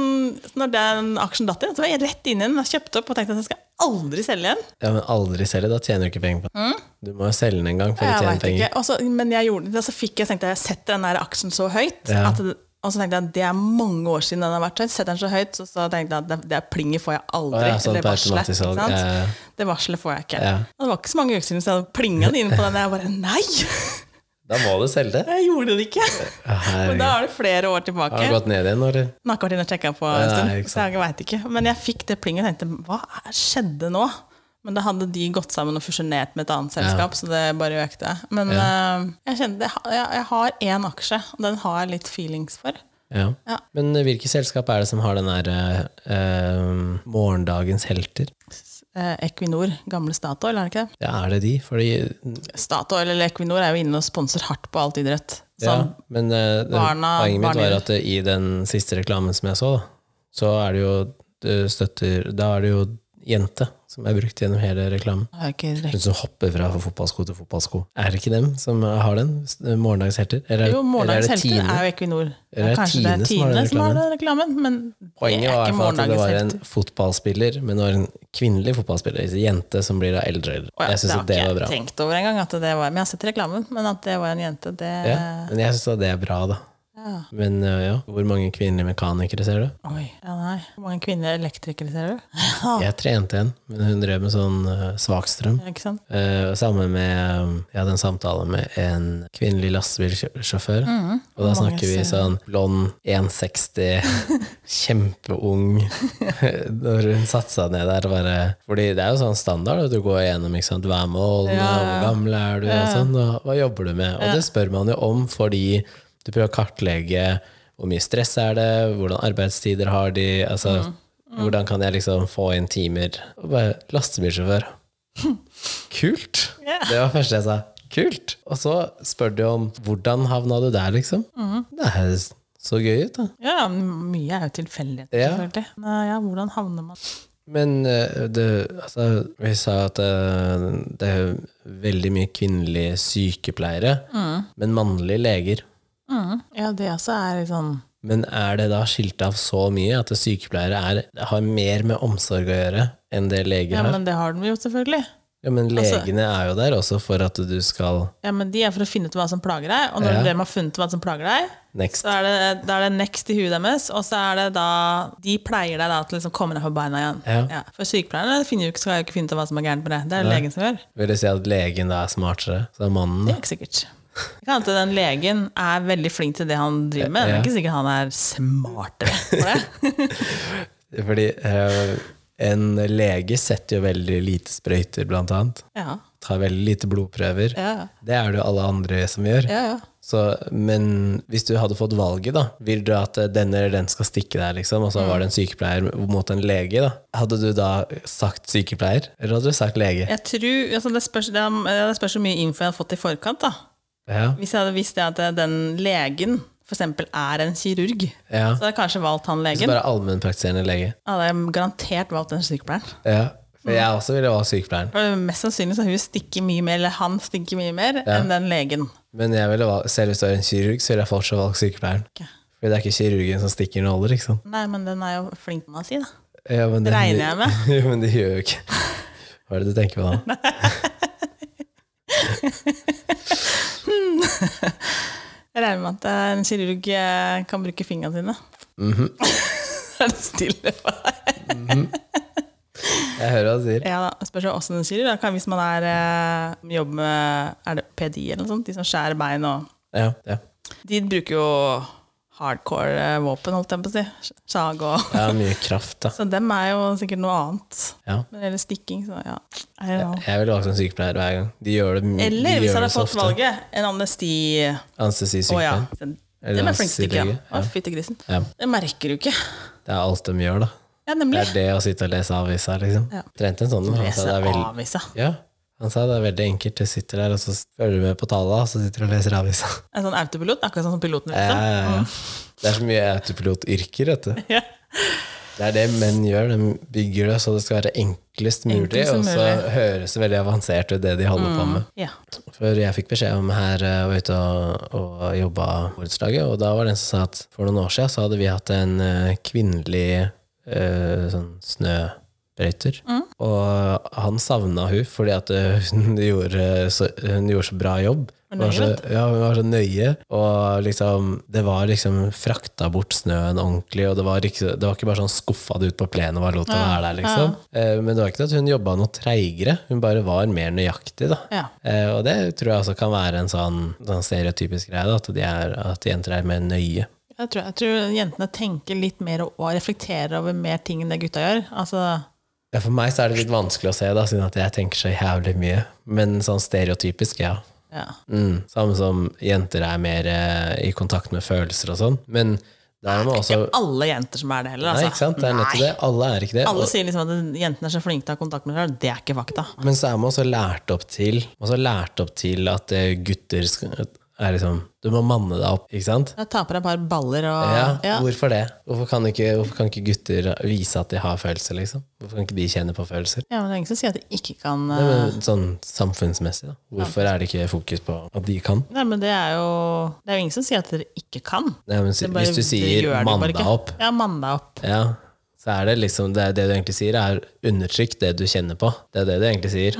Speaker 2: Når den aksjen datt inn, så var jeg rett inn i den og kjøpte opp og tenkte at jeg skal aldri selge igjen.
Speaker 1: Ja, men aldri selge, da tjener du ikke penger på det. Du må jo selge den en gang for å
Speaker 2: Mm? Jeg
Speaker 1: tjene
Speaker 2: vet ikke.
Speaker 1: penger.
Speaker 2: Og så- men jeg gjorde det, så fikk jeg tenkte jeg, jeg setter den der aksjen så høyt.
Speaker 1: Ja.
Speaker 2: At det, og så tenkte jeg det er mange år siden den har vært høyt. Setter den så høyt, så, så tenkte jeg at det, det plinget får jeg aldri.
Speaker 1: Å ja, sånn på
Speaker 2: eller varselet,
Speaker 1: automatisk
Speaker 2: ikke
Speaker 1: salg,
Speaker 2: sant?
Speaker 1: ja, ja.
Speaker 2: Det varselet får jeg ikke.
Speaker 1: Ja.
Speaker 2: Og det var ikke så mange uker siden så jeg plinga den inn på den. og Jeg bare nei! [laughs]
Speaker 1: Da må du selge det.
Speaker 2: Jeg gjorde det ikke.
Speaker 1: Ja,
Speaker 2: Men
Speaker 1: Herregud.
Speaker 2: da er det flere år tilbake.
Speaker 1: Har den gått ned igjen, eller?
Speaker 2: Den har ikke vært inne og sjekka på
Speaker 1: Nei,
Speaker 2: en stund.
Speaker 1: ikke
Speaker 2: så jeg vet ikke. Men jeg fikk det plinget og tenkte hva er, skjedde nå? Men da hadde de gått sammen og fusjonert med et annet selskap, så det bare økte. Men eh, jeg kjente det, jeg, jeg har én aksje, og den har jeg litt feelings for.
Speaker 1: Ja.
Speaker 2: Ja.
Speaker 1: Men eh, hvilke selskap er det som har den der eh, eh, morgendagens helter?
Speaker 2: Eh, Equinor, gamle Statoil, er det ikke det?
Speaker 1: Ja, er det de? Fordi
Speaker 2: Statoil eller Equinor er jo inne og sponser hardt på alt idrett. Så
Speaker 1: Ja, men eh, det-
Speaker 2: barna-
Speaker 1: poenget mitt var
Speaker 2: barnelivet.
Speaker 1: at eh, i den siste reklamen som jeg så, da, så er det jo det eh, støtter Da er det jo jente som er brukt gjennom hele reklamen.
Speaker 2: Jeg har ikke
Speaker 1: Hun
Speaker 2: rekt.
Speaker 1: som hopper fra fotballsko til fotballsko. Er det ikke dem som har den? S- Morgendagens helter? Eller, er-
Speaker 2: Jo, morgendagens
Speaker 1: eller er det
Speaker 2: helter
Speaker 1: Tine?
Speaker 2: er jo Equinor.
Speaker 1: Eller er det
Speaker 2: Kanskje det er
Speaker 1: Tine som har
Speaker 2: Tine
Speaker 1: den
Speaker 2: som har den reklamen, men det
Speaker 1: Poenget
Speaker 2: er
Speaker 1: var i
Speaker 2: ikke
Speaker 1: hvert fall at det
Speaker 2: morgendagens
Speaker 1: var en
Speaker 2: helter.
Speaker 1: fotballspiller, men det var en kvinnelig fotballspiller. En jente som blir da eldre og eldre.
Speaker 2: Å ja,
Speaker 1: Jeg syns
Speaker 2: det
Speaker 1: at det
Speaker 2: har
Speaker 1: var
Speaker 2: ikke
Speaker 1: bra.
Speaker 2: jeg tenkt over engang, at det var Men jeg har sett reklamen, men at det var en jente, det
Speaker 1: Ja,
Speaker 2: eh.
Speaker 1: men jeg syns at det er bra, da.
Speaker 2: Ja.
Speaker 1: Men øh, ja, hvor mange kvinnelige mekanikere ser du?
Speaker 2: Oi. Ja, nei. Hvor mange kvinnelige elektrikere ser du? Ja,
Speaker 1: Jeg trente en, men hun drev med sånn øh, svakstrøm.
Speaker 2: ikke sant?
Speaker 1: Eh, sammen med eh, Jeg hadde en samtale med en kvinnelig lastebilsjåfør. og da
Speaker 2: Mm. mange
Speaker 1: snakker vi
Speaker 2: ser-
Speaker 1: sånn blond,
Speaker 2: [laughs]
Speaker 1: 1,60, kjempeung [laughs] Når hun satte seg ned der og bare Fordi det er jo sånn standard at du går gjennom ikke sant, hver måned,
Speaker 2: Ja,
Speaker 1: og
Speaker 2: ja.
Speaker 1: hvor gammel er du, og sånn, og hva jobber du med? Og det spør man jo om fordi du prøver å kartlegge hvor mye stress er det, hvordan arbeidstider har de, altså
Speaker 2: Mm.
Speaker 1: hvordan kan jeg liksom få inn timer? Og bare lastebilsjåfør. Kult!
Speaker 2: Ja.
Speaker 1: Det var det første jeg sa. Kult! Og så spør du om hvordan havna du der, liksom.
Speaker 2: Mhm.
Speaker 1: Det er så gøy ut, da.
Speaker 2: Ja, men mye er jo tilfeldighet,
Speaker 1: Ja.
Speaker 2: selvfølgelig. Nei, ja, hvordan havner man
Speaker 1: Men eh, det, altså, vi sa at eh, det er veldig mye kvinnelige sykepleiere,
Speaker 2: Mhm.
Speaker 1: men mannlige leger.
Speaker 2: mm. Ja, det også er litt sånn
Speaker 1: Men er det da skilt av så mye at sykepleiere er, har mer med omsorg å gjøre enn det leger
Speaker 2: Ja, Altså-
Speaker 1: har?
Speaker 2: men det har de jo, selvfølgelig.
Speaker 1: ja, men legene er jo der også for at du skal
Speaker 2: Ja, men De er for å finne ut hva som plager deg, og når
Speaker 1: Ja.
Speaker 2: de har funnet hva som plager deg,
Speaker 1: next.
Speaker 2: så er det, da er det next i huet deres, og så er det da De pleier deg da til å liksom komme deg på beina igjen.
Speaker 1: Ja.
Speaker 2: For sykepleierne finner jo ikke, skal jo ikke finne ut hva som er gærent med det. Det er det legen som gjør.
Speaker 1: Vil det si at legen da er smartere? Så er mannen
Speaker 2: Det
Speaker 1: da?
Speaker 2: er ikke sikkert. Det kan hende at den legen er veldig flink til det han driver med. Det
Speaker 1: Ja.
Speaker 2: er ikke sikkert han er smartere for det.
Speaker 1: Fordi eh, en lege setter jo veldig lite sprøyter, blant annet.
Speaker 2: [laughs] Ja,
Speaker 1: Tar veldig lite blodprøver.
Speaker 2: ja,
Speaker 1: Det er det jo alle andre som gjør.
Speaker 2: ja. ja.
Speaker 1: Så, men hvis du hadde fått valget, da, vil du at eh, den eller den skal stikke deg, liksom, og så var
Speaker 2: Mm.
Speaker 1: det en sykepleier mot en lege, da, hadde du da sagt sykepleier, eller hadde du sagt lege?
Speaker 2: Jeg tror, altså det, spørs, det, er, det spørs hvor mye info jeg hadde fått i forkant. da.
Speaker 1: Ja.
Speaker 2: Hvis jeg hadde visst det at den legen f.eks. er en kirurg,
Speaker 1: ja.
Speaker 2: så hadde jeg kanskje valgt
Speaker 1: Så
Speaker 2: han legen.
Speaker 1: bare allmennpraktiserende lege.
Speaker 2: Hadde jeg garantert valgt den sykepleieren.
Speaker 1: Ja. For
Speaker 2: Mm.
Speaker 1: jeg også ville valgt sykepleieren,
Speaker 2: For Mest sannsynlig så har hun stikket mye mer, eller han stikker mye mer enn den legen.
Speaker 1: men jeg ville valgt, selv hvis du er en kirurg, så ville jeg fortsatt valgt sykepleieren.
Speaker 2: Ok.
Speaker 1: For det er ikke kirurgen som stikker nåler, ikke sant?
Speaker 2: Nei, men den er jo flink med å si, da.
Speaker 1: Ja, men det,
Speaker 2: Regner jeg med.
Speaker 1: [laughs] jo, men det gjør jo ikke Hva er det du tenker på da?
Speaker 2: [laughs] Jeg regner med at eh, en kirurg eh, kan bruke fingrene sine.
Speaker 1: Mhm.
Speaker 2: [laughs] er det stille for deg?
Speaker 1: Jeg hører hva du sier.
Speaker 2: Ja da, spørs jo hvordan en kirurg da. kan, Hvis man er, eh, jobber med er det PDI eller noe sånt, de som skjærer bein og
Speaker 1: Ja, ja.
Speaker 2: De bruker jo hardcore eh, våpen, holdt jeg på å si. Sag og
Speaker 1: Det er mye kraft, da.
Speaker 2: Så dem er jo sikkert noe annet.
Speaker 1: Ja.
Speaker 2: Når det gjelder stikking, så ja. I don't know.
Speaker 1: Jeg ville valgt en sykepleier hver gang. De gjør det, my- de
Speaker 2: Eller hvis
Speaker 1: gjør
Speaker 2: jeg hadde
Speaker 1: det så
Speaker 2: fått
Speaker 1: ofte.
Speaker 2: valget, en amnesti Å ja.
Speaker 1: Anestesisykepleier.
Speaker 2: Den
Speaker 1: Eller
Speaker 2: den er flink til å stikke, ja.
Speaker 1: anestesilege, ja.
Speaker 2: Å, fytti grisen.
Speaker 1: Ja.
Speaker 2: Det merker du ikke.
Speaker 1: Det er alt de gjør, da.
Speaker 2: Ja,
Speaker 1: Det
Speaker 2: nemlig.
Speaker 1: er det å sitte og lese avisa, liksom.
Speaker 2: Ja.
Speaker 1: Trente en sånn. men Han sa,
Speaker 2: Lese
Speaker 1: det er veld...
Speaker 2: avisa.
Speaker 1: ja. han sa det er veldig enkelt. Du sitter der, og så følger du med på tallene, og så sitter du og leser avisa.
Speaker 2: En sånn autopilot, akkurat sånn som piloten.
Speaker 1: Ja,
Speaker 2: Liksom.
Speaker 1: ja, ja. Det er så mye autopilotyrker, vet du.
Speaker 2: Ja.
Speaker 1: Det er det menn gjør. De bygger det så det skal være enklest mulig,
Speaker 2: Enklest
Speaker 1: og så
Speaker 2: mulig. Mm.
Speaker 1: høres det veldig avansert ut, det de holder på med.
Speaker 2: Ja.
Speaker 1: For jeg fikk beskjed om her eh, og ute og, og jobba borettslaget, og da var det en som sa at for noen år siden så hadde vi hatt en eh, kvinnelig eh, sånn snøbrøyter, og han savna hun fordi at eh, hun [laughs] gjorde så, hun gjorde så bra jobb. Hun var, så, ja, hun var så nøye, og liksom, det var liksom frakta bort snøen ordentlig. Og det var ikke, det var ikke bare sånn skuffa det ut på plenen og bare lot det være der, liksom. Eh, Men det var ikke det at hun jobba noe treigere, hun bare var mer nøyaktig, da.
Speaker 2: Ja.
Speaker 1: Eh, og det tror jeg også kan være en sånn, sånn stereotypisk greie, da, at, de er, at jenter er mer nøye.
Speaker 2: Jeg, tror, jeg tror jentene tenker litt mer og og reflekterer over mer ting enn det gutta gjør. Altså,
Speaker 1: Ja, for meg så er det litt vanskelig å se, da, siden at jeg tenker så jævlig mye. Men sånn stereotypisk, ja.
Speaker 2: ja.
Speaker 1: Mm. Samme som jenter er mer eh, i kontakt med følelser og sånn. Men da er man også
Speaker 2: Alle jenter som er det heller,
Speaker 1: Altså- Nei,
Speaker 2: altså.
Speaker 1: ikke sant? Det er nettopp det. Alle er ikke det.
Speaker 2: Alle
Speaker 1: Og,
Speaker 2: sier liksom at jentene er så flinke til å ha kontakt med seg selv. Det er ikke fakta.
Speaker 1: men så er man også lært opp til, man er også lært opp til at eh, gutter skal- er liksom Du må manne deg opp, ikke sant?
Speaker 2: Jeg tar på deg et par baller og
Speaker 1: Ja,
Speaker 2: Ja.
Speaker 1: Hvorfor det? Hvorfor kan, ikke, hvorfor kan ikke gutter vise at de har følelser, liksom? Hvorfor kan ikke de kjenne på følelser?
Speaker 2: Ja, men det er ingen som sier at de ikke kan
Speaker 1: Nei,
Speaker 2: eh,
Speaker 1: men sånn samfunnsmessig, da. Hvorfor er det ikke fokus på at de kan?
Speaker 2: Nei, men det er jo Det er jo ingen som sier at dere ikke kan.
Speaker 1: Nei, men,
Speaker 2: Bare-
Speaker 1: hvis du sier
Speaker 2: dere gjør det
Speaker 1: 'mann
Speaker 2: bare
Speaker 1: deg
Speaker 2: ikke.
Speaker 1: opp',
Speaker 2: Ja, mann deg opp.
Speaker 1: ja, så er det liksom det, er det du egentlig sier, er 'undertrykk det du kjenner på'. Det er det du egentlig sier.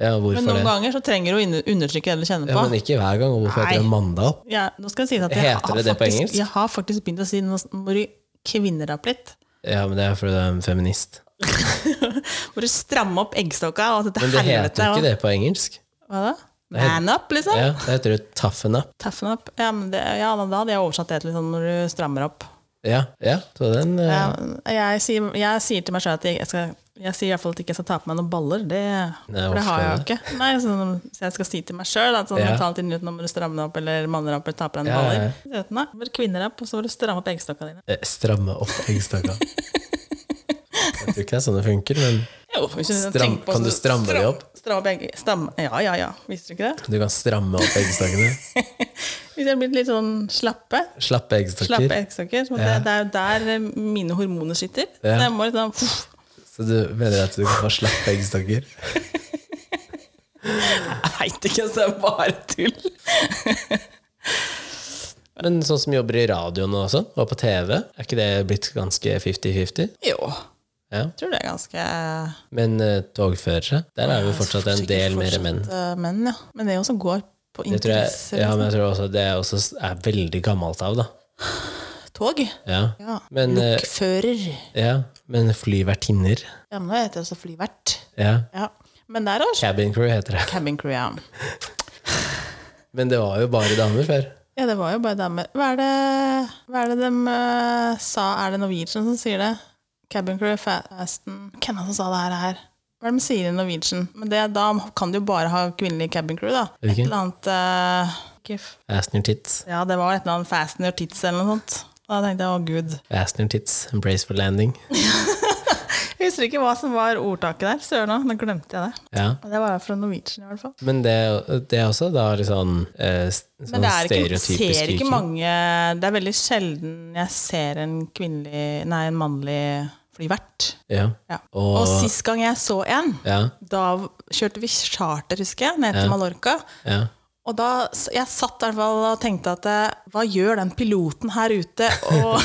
Speaker 1: Ja, hvorfor
Speaker 2: Mm. Men noen
Speaker 1: det?
Speaker 2: ganger så trenger du å inne- undertrykke det du kjenner på.
Speaker 1: Ja, men ikke hver gang. og Hvorfor heter det 'mann deg opp'?
Speaker 2: Ja, nå skal det sies at jeg
Speaker 1: Heter
Speaker 2: har
Speaker 1: det det på
Speaker 2: faktisk,
Speaker 1: engelsk?
Speaker 2: Jeg har faktisk begynt å si nå må du kvinne deg opp litt.
Speaker 1: Ja, men det er fordi du er en feminist.
Speaker 2: Må du stramme opp eggstokka og dette
Speaker 1: Men det heter
Speaker 2: helvete.
Speaker 1: jo
Speaker 2: og-
Speaker 1: ikke det på engelsk.
Speaker 2: Hva da? Man up, liksom?
Speaker 1: Ja, det heter jo 'toughen up'.
Speaker 2: Toughen up. Ja, men det, ja, da hadde jeg oversatt det til liksom, når du strammer opp.
Speaker 1: Ja, ja, så den eh,
Speaker 2: Ja, jeg, sier, jeg sier til meg sjøl at jeg, jeg skal jeg sier i hvert fall at jeg ikke skal ta på meg noen baller, det,
Speaker 1: Nei,
Speaker 2: for det
Speaker 1: hvorfor
Speaker 2: har jeg jo
Speaker 1: det?
Speaker 2: ikke. Nei, sånn, så jeg skal si til meg sjøl at sånn,
Speaker 1: Ja.
Speaker 2: mentalt inn ut, nå må du stramme deg opp eller manne deg opp eller ta på deg noen
Speaker 1: Ja, ja, ja.
Speaker 2: baller. Så, Nei, bare kvinne deg opp, og så må du stramme opp eggstokka dine.
Speaker 1: eh, stramme opp eggstokka. Jeg tror ikke det er sånn det funker, men
Speaker 2: Jo, hvis du
Speaker 1: Stram-
Speaker 2: tenker på
Speaker 1: kan
Speaker 2: så-
Speaker 1: du stramme
Speaker 2: stram-
Speaker 1: de opp?
Speaker 2: Stramme opp egg, stamme, ja, ja, ja. Visste du ikke det?
Speaker 1: du kan stramme opp eggstokkene.
Speaker 2: Hvis jeg er blitt litt sånn slappe,
Speaker 1: Slappe
Speaker 2: slappe
Speaker 1: eggstokker.
Speaker 2: eggstokker, så
Speaker 1: Ja.
Speaker 2: det, det er jo der eh, mine hormoner sitter.
Speaker 1: Ja.
Speaker 2: Så jeg må litt sånn pff,
Speaker 1: Så du mener at du kan få slappe eggstokker?
Speaker 2: [laughs] Jeg veit ikke, så det er bare tull.
Speaker 1: Men sånn som jobber i radioen og sånn, og på TV, er ikke det blitt ganske 50-50?
Speaker 2: Jo,
Speaker 1: Ja.
Speaker 2: jeg tror det er ganske
Speaker 1: Men eh, togførere, der er jo fortsatt en
Speaker 2: sikkert
Speaker 1: del mer
Speaker 2: fortsatt,
Speaker 1: menn.
Speaker 2: eh, menn, ja. Men det er jo som går på
Speaker 1: Det tror jeg,
Speaker 2: interesser.
Speaker 1: ja,
Speaker 2: liksom.
Speaker 1: men jeg tror også det er, også er veldig gammelt av, da.
Speaker 2: Tog.
Speaker 1: Ja.
Speaker 2: Ja.
Speaker 1: Men, eh,
Speaker 2: Lokfører.
Speaker 1: ja. men flyvertinner
Speaker 2: Ja, men det heter det også flyvert.
Speaker 1: ja.
Speaker 2: Ja. Men der òg.
Speaker 1: Cabin crew heter det.
Speaker 2: Cabin crew, ja.
Speaker 1: Men det var jo bare damer før.
Speaker 2: Ja, det var jo bare damer. Hva er det, hva er det de eh, sa? Er det Norwegian som sier det? Cabin crew, Fasten Hvem er det som sa det her? her? Hva er det de sier i Norwegian? Men det, da kan du jo bare ha kvinnelig cabin crew, da. Et
Speaker 1: Hvilken?
Speaker 2: eller annet eh, ikke f-
Speaker 1: Asner tits.
Speaker 2: Ja, det var et eller annet Fasten your tits eller noe sånt. Da tenkte jeg å gud.
Speaker 1: Asner tits. Embrace for landing.
Speaker 2: Jeg husker ikke hva som var ordtaket der. Søren òg, nå glemte jeg det.
Speaker 1: Ja.
Speaker 2: Og Det var fra Norwegian, i hvert fall.
Speaker 1: Men det, det er også da litt sånn, eh, s- sånn
Speaker 2: Men det er ikke,
Speaker 1: stereotypisk
Speaker 2: ser ikke
Speaker 1: kuking.
Speaker 2: mange Det er veldig sjelden jeg ser en kvinnelig Nei, en mannlig flyvert.
Speaker 1: Ja.
Speaker 2: Ja.
Speaker 1: Og-
Speaker 2: Og, sist gang jeg så en,
Speaker 1: Ja.
Speaker 2: da kjørte vi charter, husker jeg, ned til Mallorca.
Speaker 1: ja.
Speaker 2: Og da, s- Jeg satt i hvert fall og tenkte at eh, hva gjør den piloten her
Speaker 1: [laughs]
Speaker 2: ute? Og,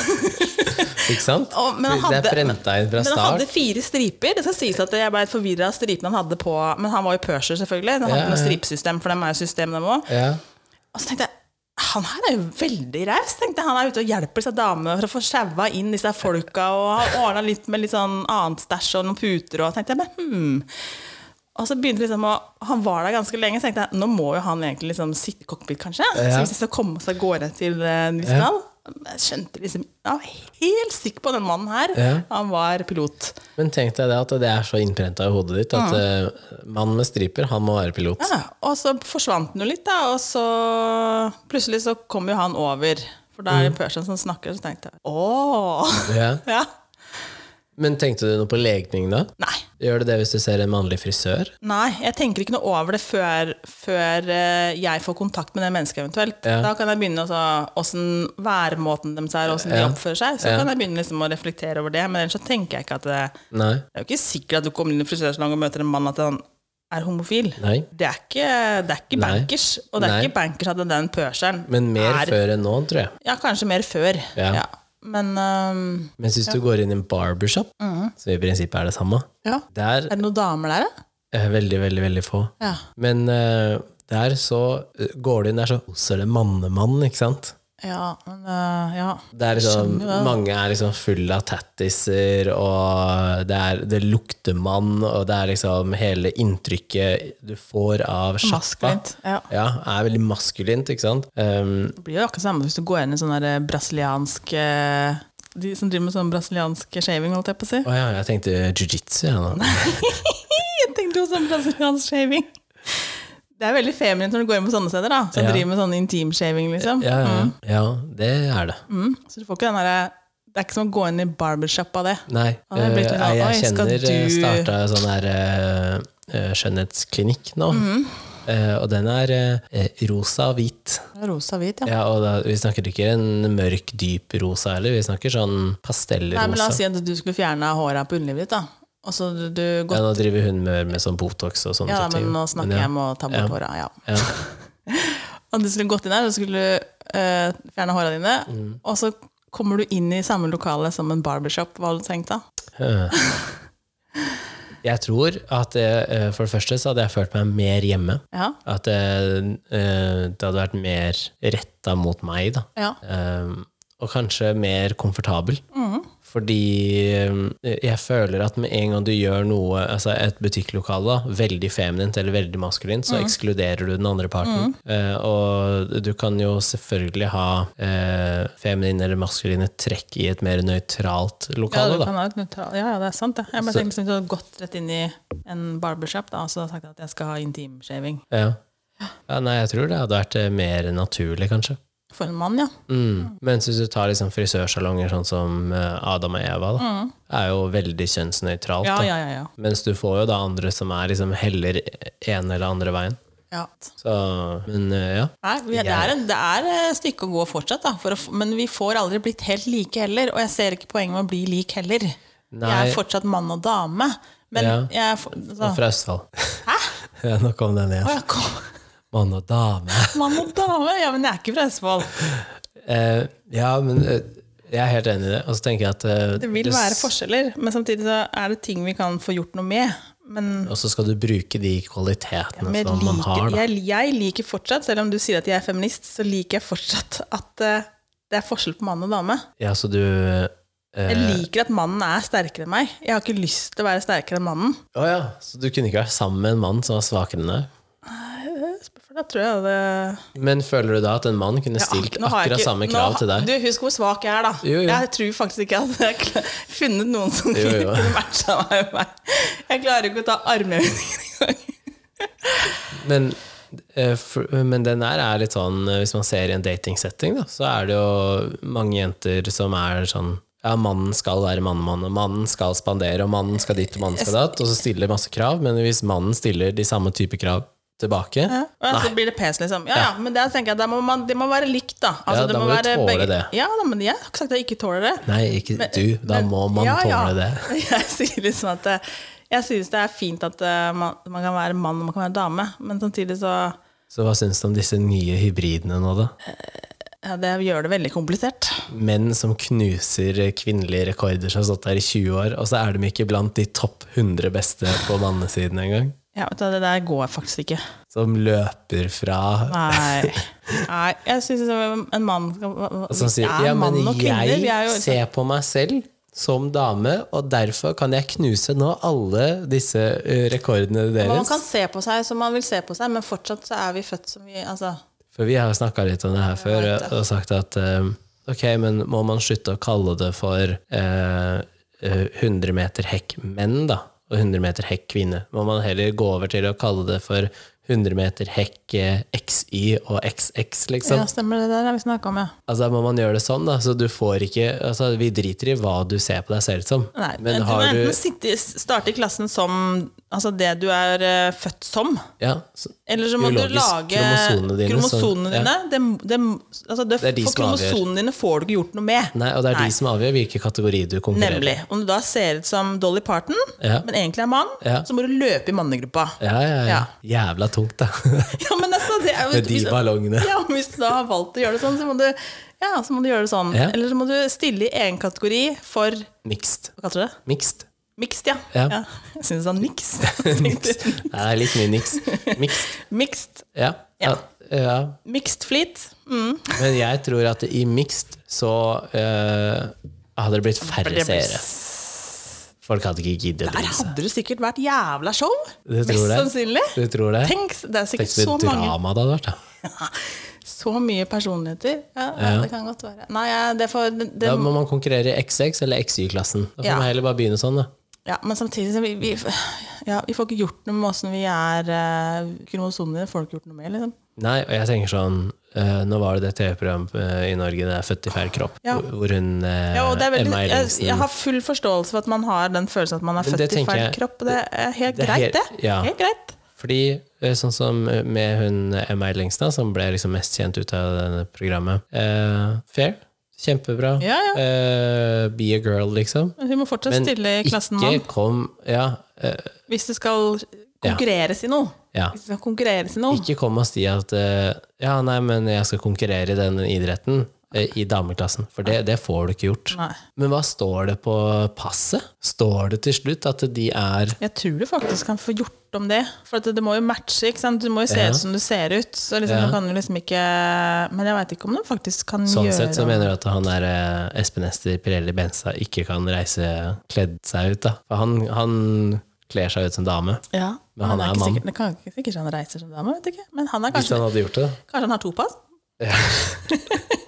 Speaker 1: Ikke sant?
Speaker 2: og, men han hadde,
Speaker 1: det er prenta inn fra
Speaker 2: [laughs] men han
Speaker 1: start.
Speaker 2: hadde fire striper. Det skal sies at jeg ble litt forvirra av stripene han hadde på. Men han var jo purser, selvfølgelig. Han
Speaker 1: Ja,
Speaker 2: hadde noe
Speaker 1: ja.
Speaker 2: stripsystem, for dem er jo system, dem òg.
Speaker 1: Ja.
Speaker 2: Og så tenkte jeg han her er jo veldig raus. tenkte jeg. Han er ute og hjelper disse damene for å få sjaua inn disse folka. Og har ordna litt med litt sånn annet stæsj og noen puter. Og tenkte jeg, men hmm. Og så begynte liksom å, Han var der ganske lenge, så tenkte jeg nå må jo han egentlig liksom sitte i cockpit, kanskje.
Speaker 1: Ja.
Speaker 2: Så hvis jeg skal komme oss av gårde til eh, en viss
Speaker 1: Ja.
Speaker 2: land. Jeg skjønte liksom Jeg var helt sikker på den mannen her.
Speaker 1: Ja.
Speaker 2: Han var pilot.
Speaker 1: Men tenk deg det at det er så innprenta i hodet ditt at eh, mann med striper, han må være pilot.
Speaker 2: Mm. Ja, og så forsvant den jo litt, da, og så plutselig så kom jo han over. For da
Speaker 1: Mm.
Speaker 2: er det Persian som snakker, så tenkte jeg åh! [laughs]
Speaker 1: Ja.
Speaker 2: Ja.
Speaker 1: Men tenkte du noe på legning da?
Speaker 2: Nei.
Speaker 1: Gjør du det hvis du ser en mannlig frisør?
Speaker 2: Nei, jeg tenker ikke noe over det før, før eh, jeg får kontakt med det mennesket eventuelt.
Speaker 1: Ja.
Speaker 2: Da kan jeg begynne å så- åssen væremåten deres er, åssen de
Speaker 1: Ja.
Speaker 2: oppfører seg. Så
Speaker 1: Ja.
Speaker 2: kan jeg begynne liksom å reflektere over det, men ellers så tenker jeg ikke at det
Speaker 1: Nei.
Speaker 2: Det er jo ikke sikkert at du kommer inn i frisørsalongen og møter en mann at han er homofil.
Speaker 1: Nei.
Speaker 2: Det er ikke, det er ikke
Speaker 1: Nei.
Speaker 2: bankers, og det er
Speaker 1: Nei.
Speaker 2: ikke bankers at den pørseren
Speaker 1: Men mer
Speaker 2: er
Speaker 1: før enn nå, tror jeg.
Speaker 2: Ja, kanskje mer før.
Speaker 1: Ja.
Speaker 2: Ja. Men øhm,
Speaker 1: Mens hvis du går inn i en barbershop,
Speaker 2: Mm.
Speaker 1: som i prinsippet er det samme,
Speaker 2: ja.
Speaker 1: der
Speaker 2: Er det noen damer der, da?
Speaker 1: er Eh, veldig, veldig, veldig få.
Speaker 2: Ja.
Speaker 1: Men eh, der så eh, går du inn der, så oser det mannemann, ikke sant?
Speaker 2: Ja, men øh, ja.
Speaker 1: Det er liksom,
Speaker 2: Skjønner jo det.
Speaker 1: mange er liksom fulle av tattiser, og det, er, det lukter mann, og det er liksom hele inntrykket du får av sjappa.
Speaker 2: Maskulint. Ja.
Speaker 1: Ja, er veldig maskulint, ikke sant? Um,
Speaker 2: Det blir jo akkurat samme hvis du går inn i sånn der eh, brasiliansk eh, De som driver med sånn brasiliansk shaving, holdt jeg på å si.
Speaker 1: å ja, jeg tenkte jiu-jitsu, ja.
Speaker 2: [laughs]
Speaker 1: nå.
Speaker 2: Jeg tenkte jo sånn brasiliansk shaving. Det er veldig feminint når du går inn på sånne steder, da. Som
Speaker 1: Ja.
Speaker 2: driver med sånn intimshaving, liksom.
Speaker 1: Ja, ja, ja. ja, det er det.
Speaker 2: Mm. Så du får ikke den derre Det er ikke som å gå inn i barbershop av det.
Speaker 1: Nei,
Speaker 2: Ja, det blir litt
Speaker 1: eh,
Speaker 2: sånn,
Speaker 1: jeg
Speaker 2: oi, skal
Speaker 1: kjenner
Speaker 2: du- Mhm.
Speaker 1: starta sånn her eh, eh, skjønnhetsklinikk nå. Eh, og den er eh, rosa og hvit.
Speaker 2: Rosa hvit, ja.
Speaker 1: Ja, og da, Vi snakker ikke en mørk, dyp rosa heller, vi snakker sånn
Speaker 2: Nei, men La
Speaker 1: pastellrosa.
Speaker 2: oss si at du skulle fjerne håra på underlivet ditt. da. Og så du, du
Speaker 1: Ja,
Speaker 2: gått,
Speaker 1: nå driver hun med, med sånn Botox og sånne
Speaker 2: ja, da,
Speaker 1: type
Speaker 2: men
Speaker 1: ting.
Speaker 2: nå snakker
Speaker 1: Men ja.
Speaker 2: jeg om å ta bort
Speaker 1: Ja.
Speaker 2: håra. ja.
Speaker 1: Ja.
Speaker 2: [laughs] Og du skulle gått inn der, og så skulle du eh, fjerne håra dine.
Speaker 1: Mm.
Speaker 2: Og så kommer du inn i samme lokale som en barbershop. Hva hadde du tenkt da?
Speaker 1: [laughs] Jeg tror at eh, for det første så hadde jeg følt meg mer hjemme.
Speaker 2: Ja,
Speaker 1: At eh, eh, det hadde vært mer retta mot meg, da.
Speaker 2: ja.
Speaker 1: Eh, og kanskje mer komfortabel.
Speaker 2: Mm.
Speaker 1: Fordi eh, jeg føler at med en gang du gjør noe, altså et butikklokale, da, veldig feminint eller veldig maskulint,
Speaker 2: Mm.
Speaker 1: så ekskluderer du den andre parten. Eh, og du kan jo selvfølgelig ha eh, feminine eller maskuline trekk i et mer nøytralt
Speaker 2: Ja,
Speaker 1: lokale,
Speaker 2: du
Speaker 1: da.
Speaker 2: kan ha et nøytral- ja, ja, det er sant. Det. Jeg bare
Speaker 1: Så-
Speaker 2: tenkte liksom, du hadde gått rett inn i en barbershop da, og så sagt at jeg skal ha intimshaving.
Speaker 1: Ja. ja. Nei, jeg tror det hadde vært eh, mer naturlig, kanskje.
Speaker 2: For en mann, ja.
Speaker 1: Mm. Mens hvis du tar liksom frisørsalonger sånn som eh, Adam og Eva, da, er jo veldig kjønnsnøytralt.
Speaker 2: Mm. Ja,
Speaker 1: da.
Speaker 2: ja, ja. ja.
Speaker 1: Mens du får jo da andre som er liksom heller ene eller andre veien.
Speaker 2: ja.
Speaker 1: Så, men eh, ja.
Speaker 2: Nei, vi, det, er en, det er et stykke å gå fortsatt, da, for å, f- men vi får aldri blitt helt like heller. Og jeg ser ikke poenget med å bli lik heller. Jeg
Speaker 1: Nei.
Speaker 2: er fortsatt mann og dame. Men
Speaker 1: Ja.
Speaker 2: jeg er for,
Speaker 1: Og
Speaker 2: altså,
Speaker 1: fra Østfold. [laughs] Ja, nå kom den
Speaker 2: Å,
Speaker 1: igjen.
Speaker 2: jeg [laughs] kom-
Speaker 1: Mann og dame.
Speaker 2: Mann og dame? Ja, men jeg er ikke fra Østfold.
Speaker 1: Eh, ja, men eh, jeg er helt enig i det. Og så tenker jeg at eh,
Speaker 2: Det vil
Speaker 1: du s-
Speaker 2: være forskjeller, men samtidig så er det ting vi kan få gjort noe med. Men
Speaker 1: Og så skal du bruke de kvalitetene
Speaker 2: men
Speaker 1: som Altså, man har.
Speaker 2: liker,
Speaker 1: Da.
Speaker 2: jeg, jeg liker fortsatt, selv om du sier at jeg er feminist, så liker jeg fortsatt at eh, det er forskjell på mann og dame.
Speaker 1: Ja, så du eh,
Speaker 2: Jeg liker at mannen er sterkere enn meg. Jeg har ikke lyst til å være sterkere enn mannen.
Speaker 1: Å ja, så du kunne ikke vært sammen med en mann som var svakere enn deg?
Speaker 2: For da tror jeg det
Speaker 1: Men føler du da at en mann kunne stilt
Speaker 2: Nå har jeg
Speaker 1: akkurat
Speaker 2: ikke-
Speaker 1: samme krav
Speaker 2: nå-
Speaker 1: til deg?
Speaker 2: Du, Husk hvor svak jeg er, da.
Speaker 1: Jo, jo.
Speaker 2: Jeg tror faktisk ikke at jeg har funnet noen som
Speaker 1: Jo, jo.
Speaker 2: [laughs] kunne matcha meg med meg. Jeg klarer ikke å ta armhevinger engang.
Speaker 1: Men, eh, for, men den her er litt sånn eh, Hvis man ser i en datingsetting, da, så er det jo mange jenter som er sånn ja, mannen skal være mannemann, og mannen skal spandere, og mannen skal ditt, og mannen skal datt, og så stiller masse krav, men hvis mannen stiller de samme type krav tilbake,
Speaker 2: Ja, så blir det pes, liksom. Ja, ja, men der tenker jeg, der må man, det må være likt, da. Altså,
Speaker 1: Ja, da må du tåle det.
Speaker 2: Ja, da, men jeg har ikke sagt at jeg ikke tåler det. [laughs]
Speaker 1: nei, ikke du, da
Speaker 2: Men-
Speaker 1: må man
Speaker 2: ja, ja.
Speaker 1: tåle det.
Speaker 2: Jeg sier liksom at eh, jeg synes det er fint at eh, man, man kan være mann og man kan være dame, men samtidig så
Speaker 1: Så hva syns du om disse nye hybridene nå, da?
Speaker 2: ja, Det gjør det veldig komplisert.
Speaker 1: menn som knuser eh, kvinnelige rekorder som har stått der i 20 år, og så er de ikke blant de topp 100 beste på mannesiden engang.
Speaker 2: Ja, vet du, hva, Det der går faktisk ikke.
Speaker 1: Som løper fra
Speaker 2: Nei. Nei jeg syns en mann skal
Speaker 1: og Som sier
Speaker 2: er
Speaker 1: ja, men
Speaker 2: mann og kvinner.
Speaker 1: jeg
Speaker 2: Vi er jo
Speaker 1: ser på meg selv som dame, og derfor kan jeg knuse nå alle disse eh, rekordene
Speaker 2: Man
Speaker 1: deres.
Speaker 2: kan se på seg som man vil se på seg, men fortsatt så er vi født som vi altså,
Speaker 1: For vi har jo snakka litt om det her før og sagt at eh, ok, men må man slutte å kalle det for eh, eh, 100 meter hekk menn, da? Og 100 meter hekk kvinne? Må man heller gå over til å kalle det for 100 meter hekk eh, XY og XX, liksom?
Speaker 2: Ja, stemmer det der har vi snakka om, ja.
Speaker 1: Altså, da må man gjøre det sånn, da. Så du får ikke altså, Vi driter i hva du ser på deg selv som.
Speaker 2: Nei,
Speaker 1: men
Speaker 2: du må
Speaker 1: har du
Speaker 2: enten sitte, starte i klassen som altså det du er eh, født som,
Speaker 1: ja, så,
Speaker 2: eller så må
Speaker 1: Biologisk,
Speaker 2: du lage
Speaker 1: kromosonene dine,
Speaker 2: kromosonene
Speaker 1: sånn, ja.
Speaker 2: dine. Det, det, altså det,
Speaker 1: er de
Speaker 2: for
Speaker 1: som avgjør.
Speaker 2: kromosonene dine får du ikke gjort noe med.
Speaker 1: Nei, og det er de som avgjør hvilken kategori du konkurrerer i.
Speaker 2: Nemlig. Om du da ser ut som Dolly Parton,
Speaker 1: Ja.
Speaker 2: men egentlig er mann,
Speaker 1: Ja.
Speaker 2: så må du løpe i mannegruppa.
Speaker 1: Ja, ja, ja. Jævla tungt, da.
Speaker 2: [laughs] Ja, men altså, det er jo
Speaker 1: Med [laughs] de
Speaker 2: hvis-
Speaker 1: ballongene.
Speaker 2: [laughs] Ja, men hvis du da har valgt å gjøre det sånn, så må du, ja, så må du gjøre det sånn.
Speaker 1: Ja.
Speaker 2: Eller så må du stille i egen kategori for Hva
Speaker 1: Mixed.
Speaker 2: kaller du det? [laughs]
Speaker 1: Mixed.
Speaker 2: Mixed, ja.
Speaker 1: Ja.
Speaker 2: Jeg syns han mixed.
Speaker 1: [laughs] Mixed. Nei, det er litt mye niks. Mixed.
Speaker 2: mixed.
Speaker 1: Ja. ja. ja.
Speaker 2: Mixed fleet. Mm.
Speaker 1: Men jeg tror at i mixed så eh, hadde det blitt færre
Speaker 2: Det blir-
Speaker 1: seere. Folk hadde ikke giddet å
Speaker 2: Der
Speaker 1: bry seg.
Speaker 2: hadde det sikkert vært jævla show!
Speaker 1: Du
Speaker 2: Mest
Speaker 1: tror det?
Speaker 2: sannsynlig.
Speaker 1: Du tror det?
Speaker 2: Tenk, det er
Speaker 1: Tenk
Speaker 2: sikkert
Speaker 1: så
Speaker 2: så
Speaker 1: mye
Speaker 2: mange
Speaker 1: drama det hadde vært, da.
Speaker 2: Så mye personligheter. Ja, ja, Det kan godt være. Nei, ja, det får det, det,
Speaker 1: Da må man konkurrere i XX eller XY-klassen. Da får
Speaker 2: Um, Ja.
Speaker 1: man heller bare begynne sånn, da.
Speaker 2: ja, Men samtidig så vi, vi, ja, vi får ikke gjort noe med åssen vi er eh, Kromosomene får ikke gjort noe med, liksom.
Speaker 1: Nei, og jeg tenker sånn eh, Nå var det det TV-programmet eh, i Norge, det er 'Født i feil kropp',
Speaker 2: Ja.
Speaker 1: hvor, hvor hun eh,
Speaker 2: Ja, og det er veldig,
Speaker 1: Emma
Speaker 2: jeg,
Speaker 1: Ellingsen
Speaker 2: jeg har full forståelse for at man har den følelsen at man er
Speaker 1: det
Speaker 2: født i
Speaker 1: tenker
Speaker 2: feil
Speaker 1: jeg-
Speaker 2: kropp. og Det er helt
Speaker 1: det er
Speaker 2: greit,
Speaker 1: helt-
Speaker 2: det.
Speaker 1: ja.
Speaker 2: Helt greit.
Speaker 1: Fordi eh, sånn som med hun eh, Emma Ellingstad, som ble liksom mest kjent ut av denne programmet eh, Fair. Kjempebra.
Speaker 2: Ja, ja.
Speaker 1: Eh, be a girl, liksom.
Speaker 2: Hun må fortsatt
Speaker 1: Men
Speaker 2: stille i klassen mann.
Speaker 1: ikke kom Ja. eh,
Speaker 2: Hvis det skal konkurreres i noe.
Speaker 1: ja.
Speaker 2: Hvis det skal konkurreres i noe.
Speaker 1: Ikke kom og si at eh, ja, nei, men jeg skal konkurrere i den idretten eh, i dameklassen. For det, det får du ikke gjort.
Speaker 2: Nei.
Speaker 1: Men hva står det på passet? Står det til slutt at de er
Speaker 2: Jeg tror du faktisk kan få gjort om det. For at det må jo matche. ikke sant? Du må jo se
Speaker 1: Ja.
Speaker 2: ut som du ser ut. Så liksom,
Speaker 1: Ja.
Speaker 2: du kan jo liksom ikke Men jeg veit ikke om de faktisk kan
Speaker 1: Sånn
Speaker 2: gjøre
Speaker 1: sett så mener du at han der eh, Espen Ester Pirelli Benstad ikke kan reise kledd seg ut, da. For han, han kler seg ut som dame.
Speaker 2: ja.
Speaker 1: Men han
Speaker 2: det
Speaker 1: er
Speaker 2: ikke
Speaker 1: mann.
Speaker 2: Sikkert, det kan ikke sikkert han reiser som dame, vet ikke. Men han er
Speaker 1: Hvis
Speaker 2: kanskje
Speaker 1: han hadde gjort det.
Speaker 2: Kanskje han har to pass? [laughs]
Speaker 1: Ja.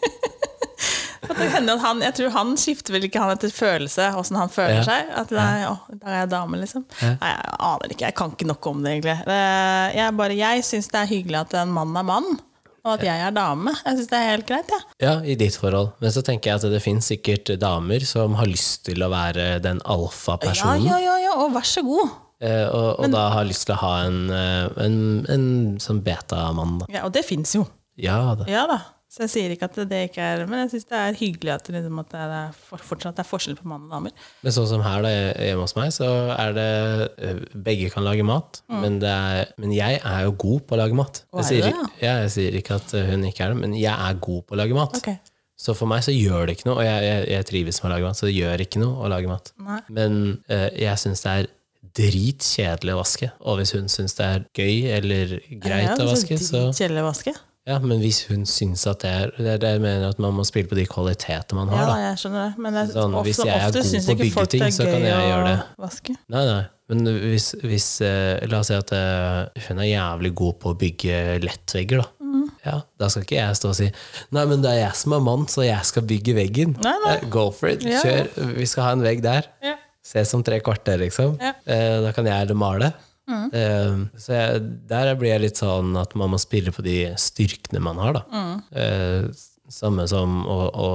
Speaker 2: At det hender at han, jeg tror han skifter vel ikke han etter følelse, åssen han føler
Speaker 1: Ja.
Speaker 2: seg. At det er, å, da er jeg dame, liksom.
Speaker 1: Ja.
Speaker 2: Nei, jeg aner ikke. Jeg kan ikke nok om det, egentlig. Eh, Jeg, bare- jeg syns det er hyggelig at en mann er mann, og at jeg er dame. Jeg syns det er helt greit, jeg.
Speaker 1: Ja, i ditt forhold. Men så tenker jeg at det finnes sikkert damer som har lyst til å være den
Speaker 2: Ja,
Speaker 1: alfa-personen.
Speaker 2: ja, ja, ja, og vær så god.
Speaker 1: Eh, og og da har lyst til å ha en, eh, en, en sånn beta-mann, da.
Speaker 2: Ja, og det fins jo.
Speaker 1: Ja da.
Speaker 2: Ja da. Så jeg sier ikke at det ikke er Men jeg syns det er hyggelig at, det liksom, at det er, for- fortsatt er forskjell på mann og damer.
Speaker 1: Men sånn som her da, hjemme hos meg, så er det eh, Begge kan lage mat, men, det er, men jeg er jo god på å lage mat.
Speaker 2: Mm.
Speaker 1: Jeg
Speaker 2: Å, er du
Speaker 1: sier,
Speaker 2: det,
Speaker 1: ikke- ja, jeg sier ikke at eh, hun ikke er det, men jeg er god på å lage mat.
Speaker 2: Ok.
Speaker 1: Så for meg så gjør det ikke noe, og jeg, jeg, jeg trives med å lage mat, så det gjør ikke noe å lage mat.
Speaker 2: Nei.
Speaker 1: Men eh, jeg syns det er dritkjedelig å vaske. Og hvis hun syns det er gøy eller greit
Speaker 2: Ja,
Speaker 1: å
Speaker 2: så
Speaker 1: vaske, så
Speaker 2: dritkjedelig å vaske.
Speaker 1: Ja, men hvis hun syns at det er Det er det jeg mener at man må spille på de kvalitetene man har,
Speaker 2: Ja,
Speaker 1: da.
Speaker 2: jeg skjønner det. Men jeg,
Speaker 1: Sånn,
Speaker 2: ofte,
Speaker 1: hvis jeg er
Speaker 2: ofte
Speaker 1: god
Speaker 2: syns
Speaker 1: på å
Speaker 2: ikke
Speaker 1: bygge
Speaker 2: folk det
Speaker 1: ting,
Speaker 2: er
Speaker 1: så kan
Speaker 2: gøy
Speaker 1: jeg
Speaker 2: å
Speaker 1: gjøre
Speaker 2: vaske.
Speaker 1: Nei, nei. Men hvis, hvis eh, La oss si at eh, hun er jævlig god på å bygge lettvegger, da.
Speaker 2: Mm.
Speaker 1: Ja, da skal ikke jeg stå og si Nei, men det er jeg som er mann, så jeg skal bygge veggen.
Speaker 2: Nei, nei.
Speaker 1: Eh, Go for it.
Speaker 2: Ja.
Speaker 1: Kjør. Vi skal ha en vegg der.
Speaker 2: Ja.
Speaker 1: Ses om tre kvarter, liksom.
Speaker 2: Ja. Mm.
Speaker 1: Eh, da kan jeg eller male. Eh, så jeg, der blir jeg litt sånn at man må spille på de styrkene man har, da.
Speaker 2: Mm.
Speaker 1: Eh, samme som å, å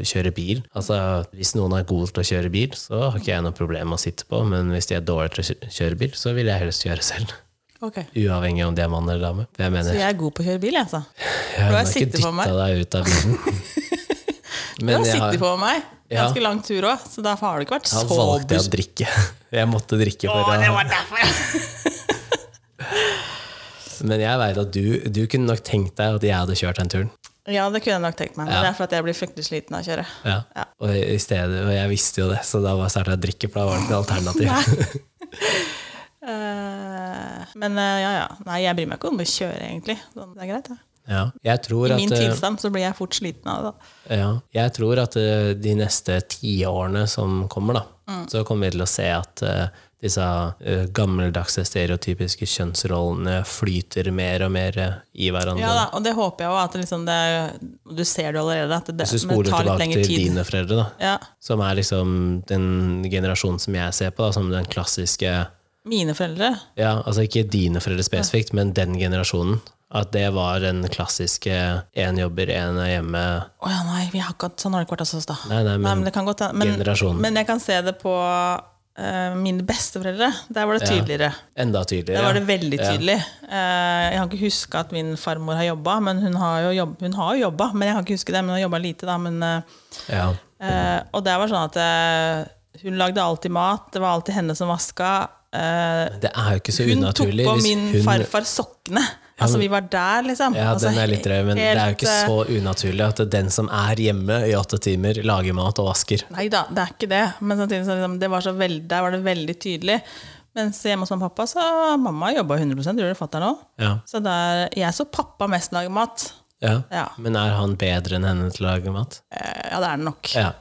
Speaker 1: kjøre bil. Altså, hvis noen er gode til å kjøre bil, så har ikke jeg noe problem med å sitte på, men hvis de er dårlige til å kjø- kjøre bil, så vil jeg helst kjøre selv. [laughs]
Speaker 2: Ok.
Speaker 1: Uavhengig om de er mann eller dame. For jeg
Speaker 2: Så
Speaker 1: mener,
Speaker 2: jeg er god på å kjøre bil, jeg, altså.
Speaker 1: jeg
Speaker 2: har
Speaker 1: har ikke
Speaker 2: sittet på meg.
Speaker 1: dytta deg ut av
Speaker 2: [laughs]
Speaker 1: bilen.
Speaker 2: Du har
Speaker 1: Men jeg
Speaker 2: sittet
Speaker 1: har,
Speaker 2: på meg
Speaker 1: Ja.
Speaker 2: ganske lang tur òg, så derfor har du ikke vært
Speaker 1: jeg
Speaker 2: så
Speaker 1: har valgt det å
Speaker 2: bus-
Speaker 1: drikke. [laughs] Jeg måtte drikke
Speaker 2: Å,
Speaker 1: for
Speaker 2: det
Speaker 1: å
Speaker 2: var derfor!
Speaker 1: [laughs] Men jeg veit at du, du kunne nok tenkt deg at jeg hadde kjørt den turen.
Speaker 2: Ja, det kunne jeg nok tenkt meg. men Det er for at jeg blir fryktelig sliten av å kjøre.
Speaker 1: Ja.
Speaker 2: Ja.
Speaker 1: Og, i stedet, og jeg visste jo det, så da bare starta jeg å drikke, for da var det ikke noe alternativ. [laughs]
Speaker 2: Eh, men eh, ja, ja. Nei, jeg bryr meg ikke om å kjøre, egentlig. Sånn, Det er greit, det.
Speaker 1: Ja. Jeg, tror
Speaker 2: I
Speaker 1: at,
Speaker 2: min
Speaker 1: eh,
Speaker 2: tilstand så blir jeg fort sliten av det. da.
Speaker 1: ja, jeg tror at eh, de neste tiårene som kommer, da,
Speaker 2: Mm.
Speaker 1: så kommer vi til å se at eh, disse eh, gammeldagse stereotypiske kjønnsrollene flyter mer og mer eh, i hverandre.
Speaker 2: Ja da, Og det håper jeg òg, at liksom det, du ser det allerede. At det,
Speaker 1: Hvis du
Speaker 2: men
Speaker 1: spoler
Speaker 2: det tar litt
Speaker 1: tilbake
Speaker 2: lengre
Speaker 1: til
Speaker 2: tid.
Speaker 1: dine foreldre, da,
Speaker 2: Ja.
Speaker 1: som er liksom den generasjonen som jeg ser på, da, som den klassiske
Speaker 2: Mine foreldre
Speaker 1: Ja, altså ikke dine foreldre spesifikt, men den generasjonen. At det var den klassiske én jobber, én er hjemme.
Speaker 2: Å ja, nei, vi har ikke hatt sånn har det ikke vært hos oss, da.
Speaker 1: Nei, nei,
Speaker 2: Nei,
Speaker 1: men
Speaker 2: men det kan godt hende. Men,
Speaker 1: generasjonen.
Speaker 2: men jeg kan se det på eh, mine besteforeldre. Der var det
Speaker 1: Ja.
Speaker 2: tydeligere.
Speaker 1: enda
Speaker 2: Der var
Speaker 1: tydeligere.
Speaker 2: det veldig
Speaker 1: Ja.
Speaker 2: tydelig. Eh, jeg kan ikke huske at min farmor har jobba, men hun har jo jobb, hun har jo jobba. Men jeg kan ikke huske det, men hun har jobba lite, da. Men, eh,
Speaker 1: Ja.
Speaker 2: eh, og det var sånn at eh, hun lagde alltid mat, det var alltid henne som vaska. eh,
Speaker 1: Men Det er jo ikke så
Speaker 2: hun tok
Speaker 1: unaturlig.
Speaker 2: på
Speaker 1: hvis
Speaker 2: min
Speaker 1: hun-
Speaker 2: farfar sokkene. Altså, vi var der, liksom.
Speaker 1: Ja,
Speaker 2: altså,
Speaker 1: den er litt drøy, men det er jo
Speaker 2: helt,
Speaker 1: ikke
Speaker 2: eh,
Speaker 1: så unaturlig at den som er hjemme i åtte timer, lager mat og vasker.
Speaker 2: Nei da, det er ikke det. Men samtidig så liksom, det var så veld, der var det veldig tydelig. Mens hjemme hos mamma og pappa så mamma jobba 100 det gjorde fatter'n òg.
Speaker 1: Ja.
Speaker 2: Så der, jeg så pappa mest lage mat.
Speaker 1: Ja.
Speaker 2: Ja.
Speaker 1: Men er han bedre enn henne til å lage mat?
Speaker 2: Eh, Ja, det er det nok.
Speaker 1: Ja.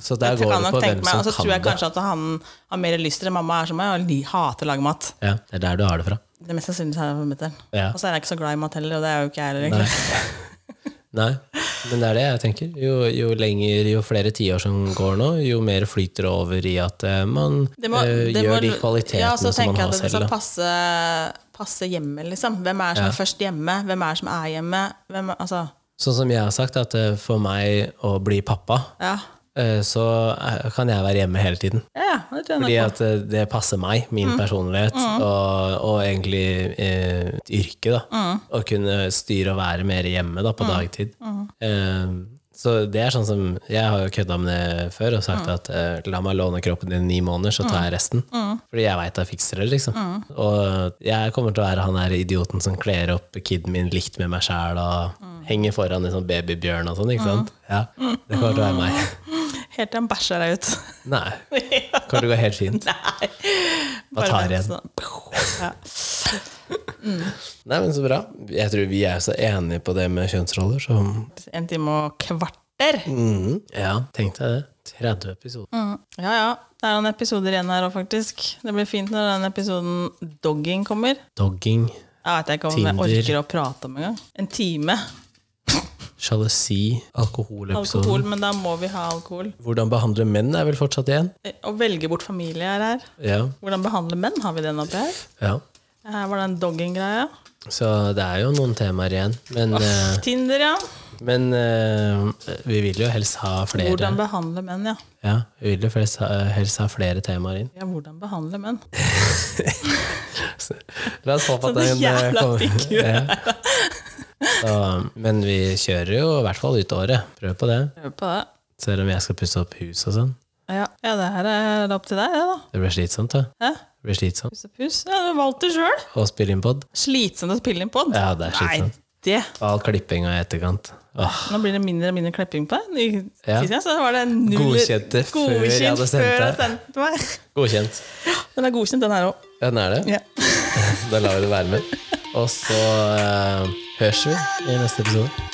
Speaker 1: Så der
Speaker 2: Jeg
Speaker 1: går
Speaker 2: kan
Speaker 1: det
Speaker 2: nok
Speaker 1: på
Speaker 2: tenke
Speaker 1: hvem
Speaker 2: meg,
Speaker 1: som
Speaker 2: og så
Speaker 1: kan
Speaker 2: tror jeg
Speaker 1: det.
Speaker 2: kanskje at han har mer lyst til det. Mamma er som meg og li- hater å lage mat.
Speaker 1: Ja, det er der du har det fra.
Speaker 2: Det er mest sannsynlig er det mutter'n.
Speaker 1: Ja.
Speaker 2: Og så er jeg ikke så glad i mat heller, og det er jo ikke jeg heller. egentlig.
Speaker 1: Nei, men det er det jeg tenker. Jo, jo lenger, jo flere tiår som går nå, jo mer flyter det over i at eh, man
Speaker 2: Det må-
Speaker 1: eh,
Speaker 2: det
Speaker 1: gjør
Speaker 2: må-
Speaker 1: de kvalitetene
Speaker 2: ja, så
Speaker 1: som man
Speaker 2: tenker jeg
Speaker 1: har
Speaker 2: at det
Speaker 1: selv.
Speaker 2: skal
Speaker 1: Da.
Speaker 2: passe, passe hjemme, liksom. Hvem er som er først hjemme? Hvem er som er hjemme? Hvem, altså,
Speaker 1: Sånn som jeg har sagt, at eh, for meg å bli pappa,
Speaker 2: ja.
Speaker 1: eh, så eh, kan jeg være hjemme hele tiden.
Speaker 2: Ja, ja, det tror
Speaker 1: Fordi
Speaker 2: jeg nok
Speaker 1: at eh, det passer meg, min personlighet, Og, og egentlig eh, et yrke. da Å kunne styre og være mer hjemme da, på dagtid. Eh, så det er sånn som Jeg har jo kødda med det før og sagt at eh, la meg låne kroppen din i ni måneder, så tar jeg resten. Fordi jeg veit jeg fikser det, liksom. Og jeg kommer til å være han der idioten som kler opp kiden min likt med meg sjæl og henger foran en sånn babybjørn og sånn, ikke sant? Ja, Det kommer til å være meg.
Speaker 2: Helt til han bæsjer deg
Speaker 1: [laughs]
Speaker 2: ut.
Speaker 1: Nei. Det kommer til å gå helt fint.
Speaker 2: Nei.
Speaker 1: Bare tar
Speaker 2: vent
Speaker 1: igjen.
Speaker 2: sånn. Ja.
Speaker 1: Nei, men så bra. Jeg tror vi er så enige på det med kjønnsroller, så
Speaker 2: En time og kvarter.
Speaker 1: Mhm. Ja, tenkte jeg det. 30 episoder.
Speaker 2: Ja, ja. Det er noen episoder igjen her òg, faktisk. Det blir fint når den episoden dogging kommer.
Speaker 1: Dogging,
Speaker 2: Jeg vet ikke om
Speaker 1: Tinder.
Speaker 2: jeg orker å prate om engang. En time
Speaker 1: sjalusi, alkoholepisoden
Speaker 2: alkohol, men da må vi ha alkohol.
Speaker 1: Hvordan behandle menn er vel fortsatt igjen?
Speaker 2: Eh, Å velge bort familie er her.
Speaker 1: Ja.
Speaker 2: Hvordan behandle menn, har vi den oppi her?
Speaker 1: ja.
Speaker 2: Her var den dogging-greia.
Speaker 1: Så det er jo noen temaer igjen. Men, eh,
Speaker 2: Tinder, ja.
Speaker 1: men eh, vi vil jo helst ha flere.
Speaker 2: Hvordan behandle menn, ja.
Speaker 1: Ja, vi vil jo helst ha, helst ha flere temaer inn.
Speaker 2: Ja, hvordan behandle menn.
Speaker 1: La oss håpe at
Speaker 2: Sånne
Speaker 1: den eh,
Speaker 2: jævla
Speaker 1: kommer.
Speaker 2: figurer.
Speaker 1: [laughs] Ja. Så, men vi kjører jo i hvert fall ut året. Prøv på det.
Speaker 2: Prøv på det.
Speaker 1: Selv om jeg skal pusse opp hus og sånn.
Speaker 2: Ja, ja det her er opp til deg, det, da.
Speaker 1: Det blir slitsomt, da.
Speaker 2: Hæ?
Speaker 1: Det blir slitsomt
Speaker 2: Pus og pus. Ja, du valgte sjøl.
Speaker 1: å spille inn pod.
Speaker 2: Slitsomt å spille inn pod.
Speaker 1: Ja, det er slitsomt.
Speaker 2: Nei, det.
Speaker 1: All klippinga i etterkant. Åh,
Speaker 2: Nå blir det mindre og mindre klepping på deg. I-
Speaker 1: Ja.
Speaker 2: Sist jeg så var det null
Speaker 1: Godkjent det før jeg
Speaker 2: godkjent
Speaker 1: hadde sendt
Speaker 2: før jeg
Speaker 1: deg.
Speaker 2: sendte meg.
Speaker 1: godkjent.
Speaker 2: [laughs] Den er godkjent, den her òg.
Speaker 1: Ja, den er det.
Speaker 2: Ja.
Speaker 1: Da lar vi det være med. Og så eh, høres vi i neste episode.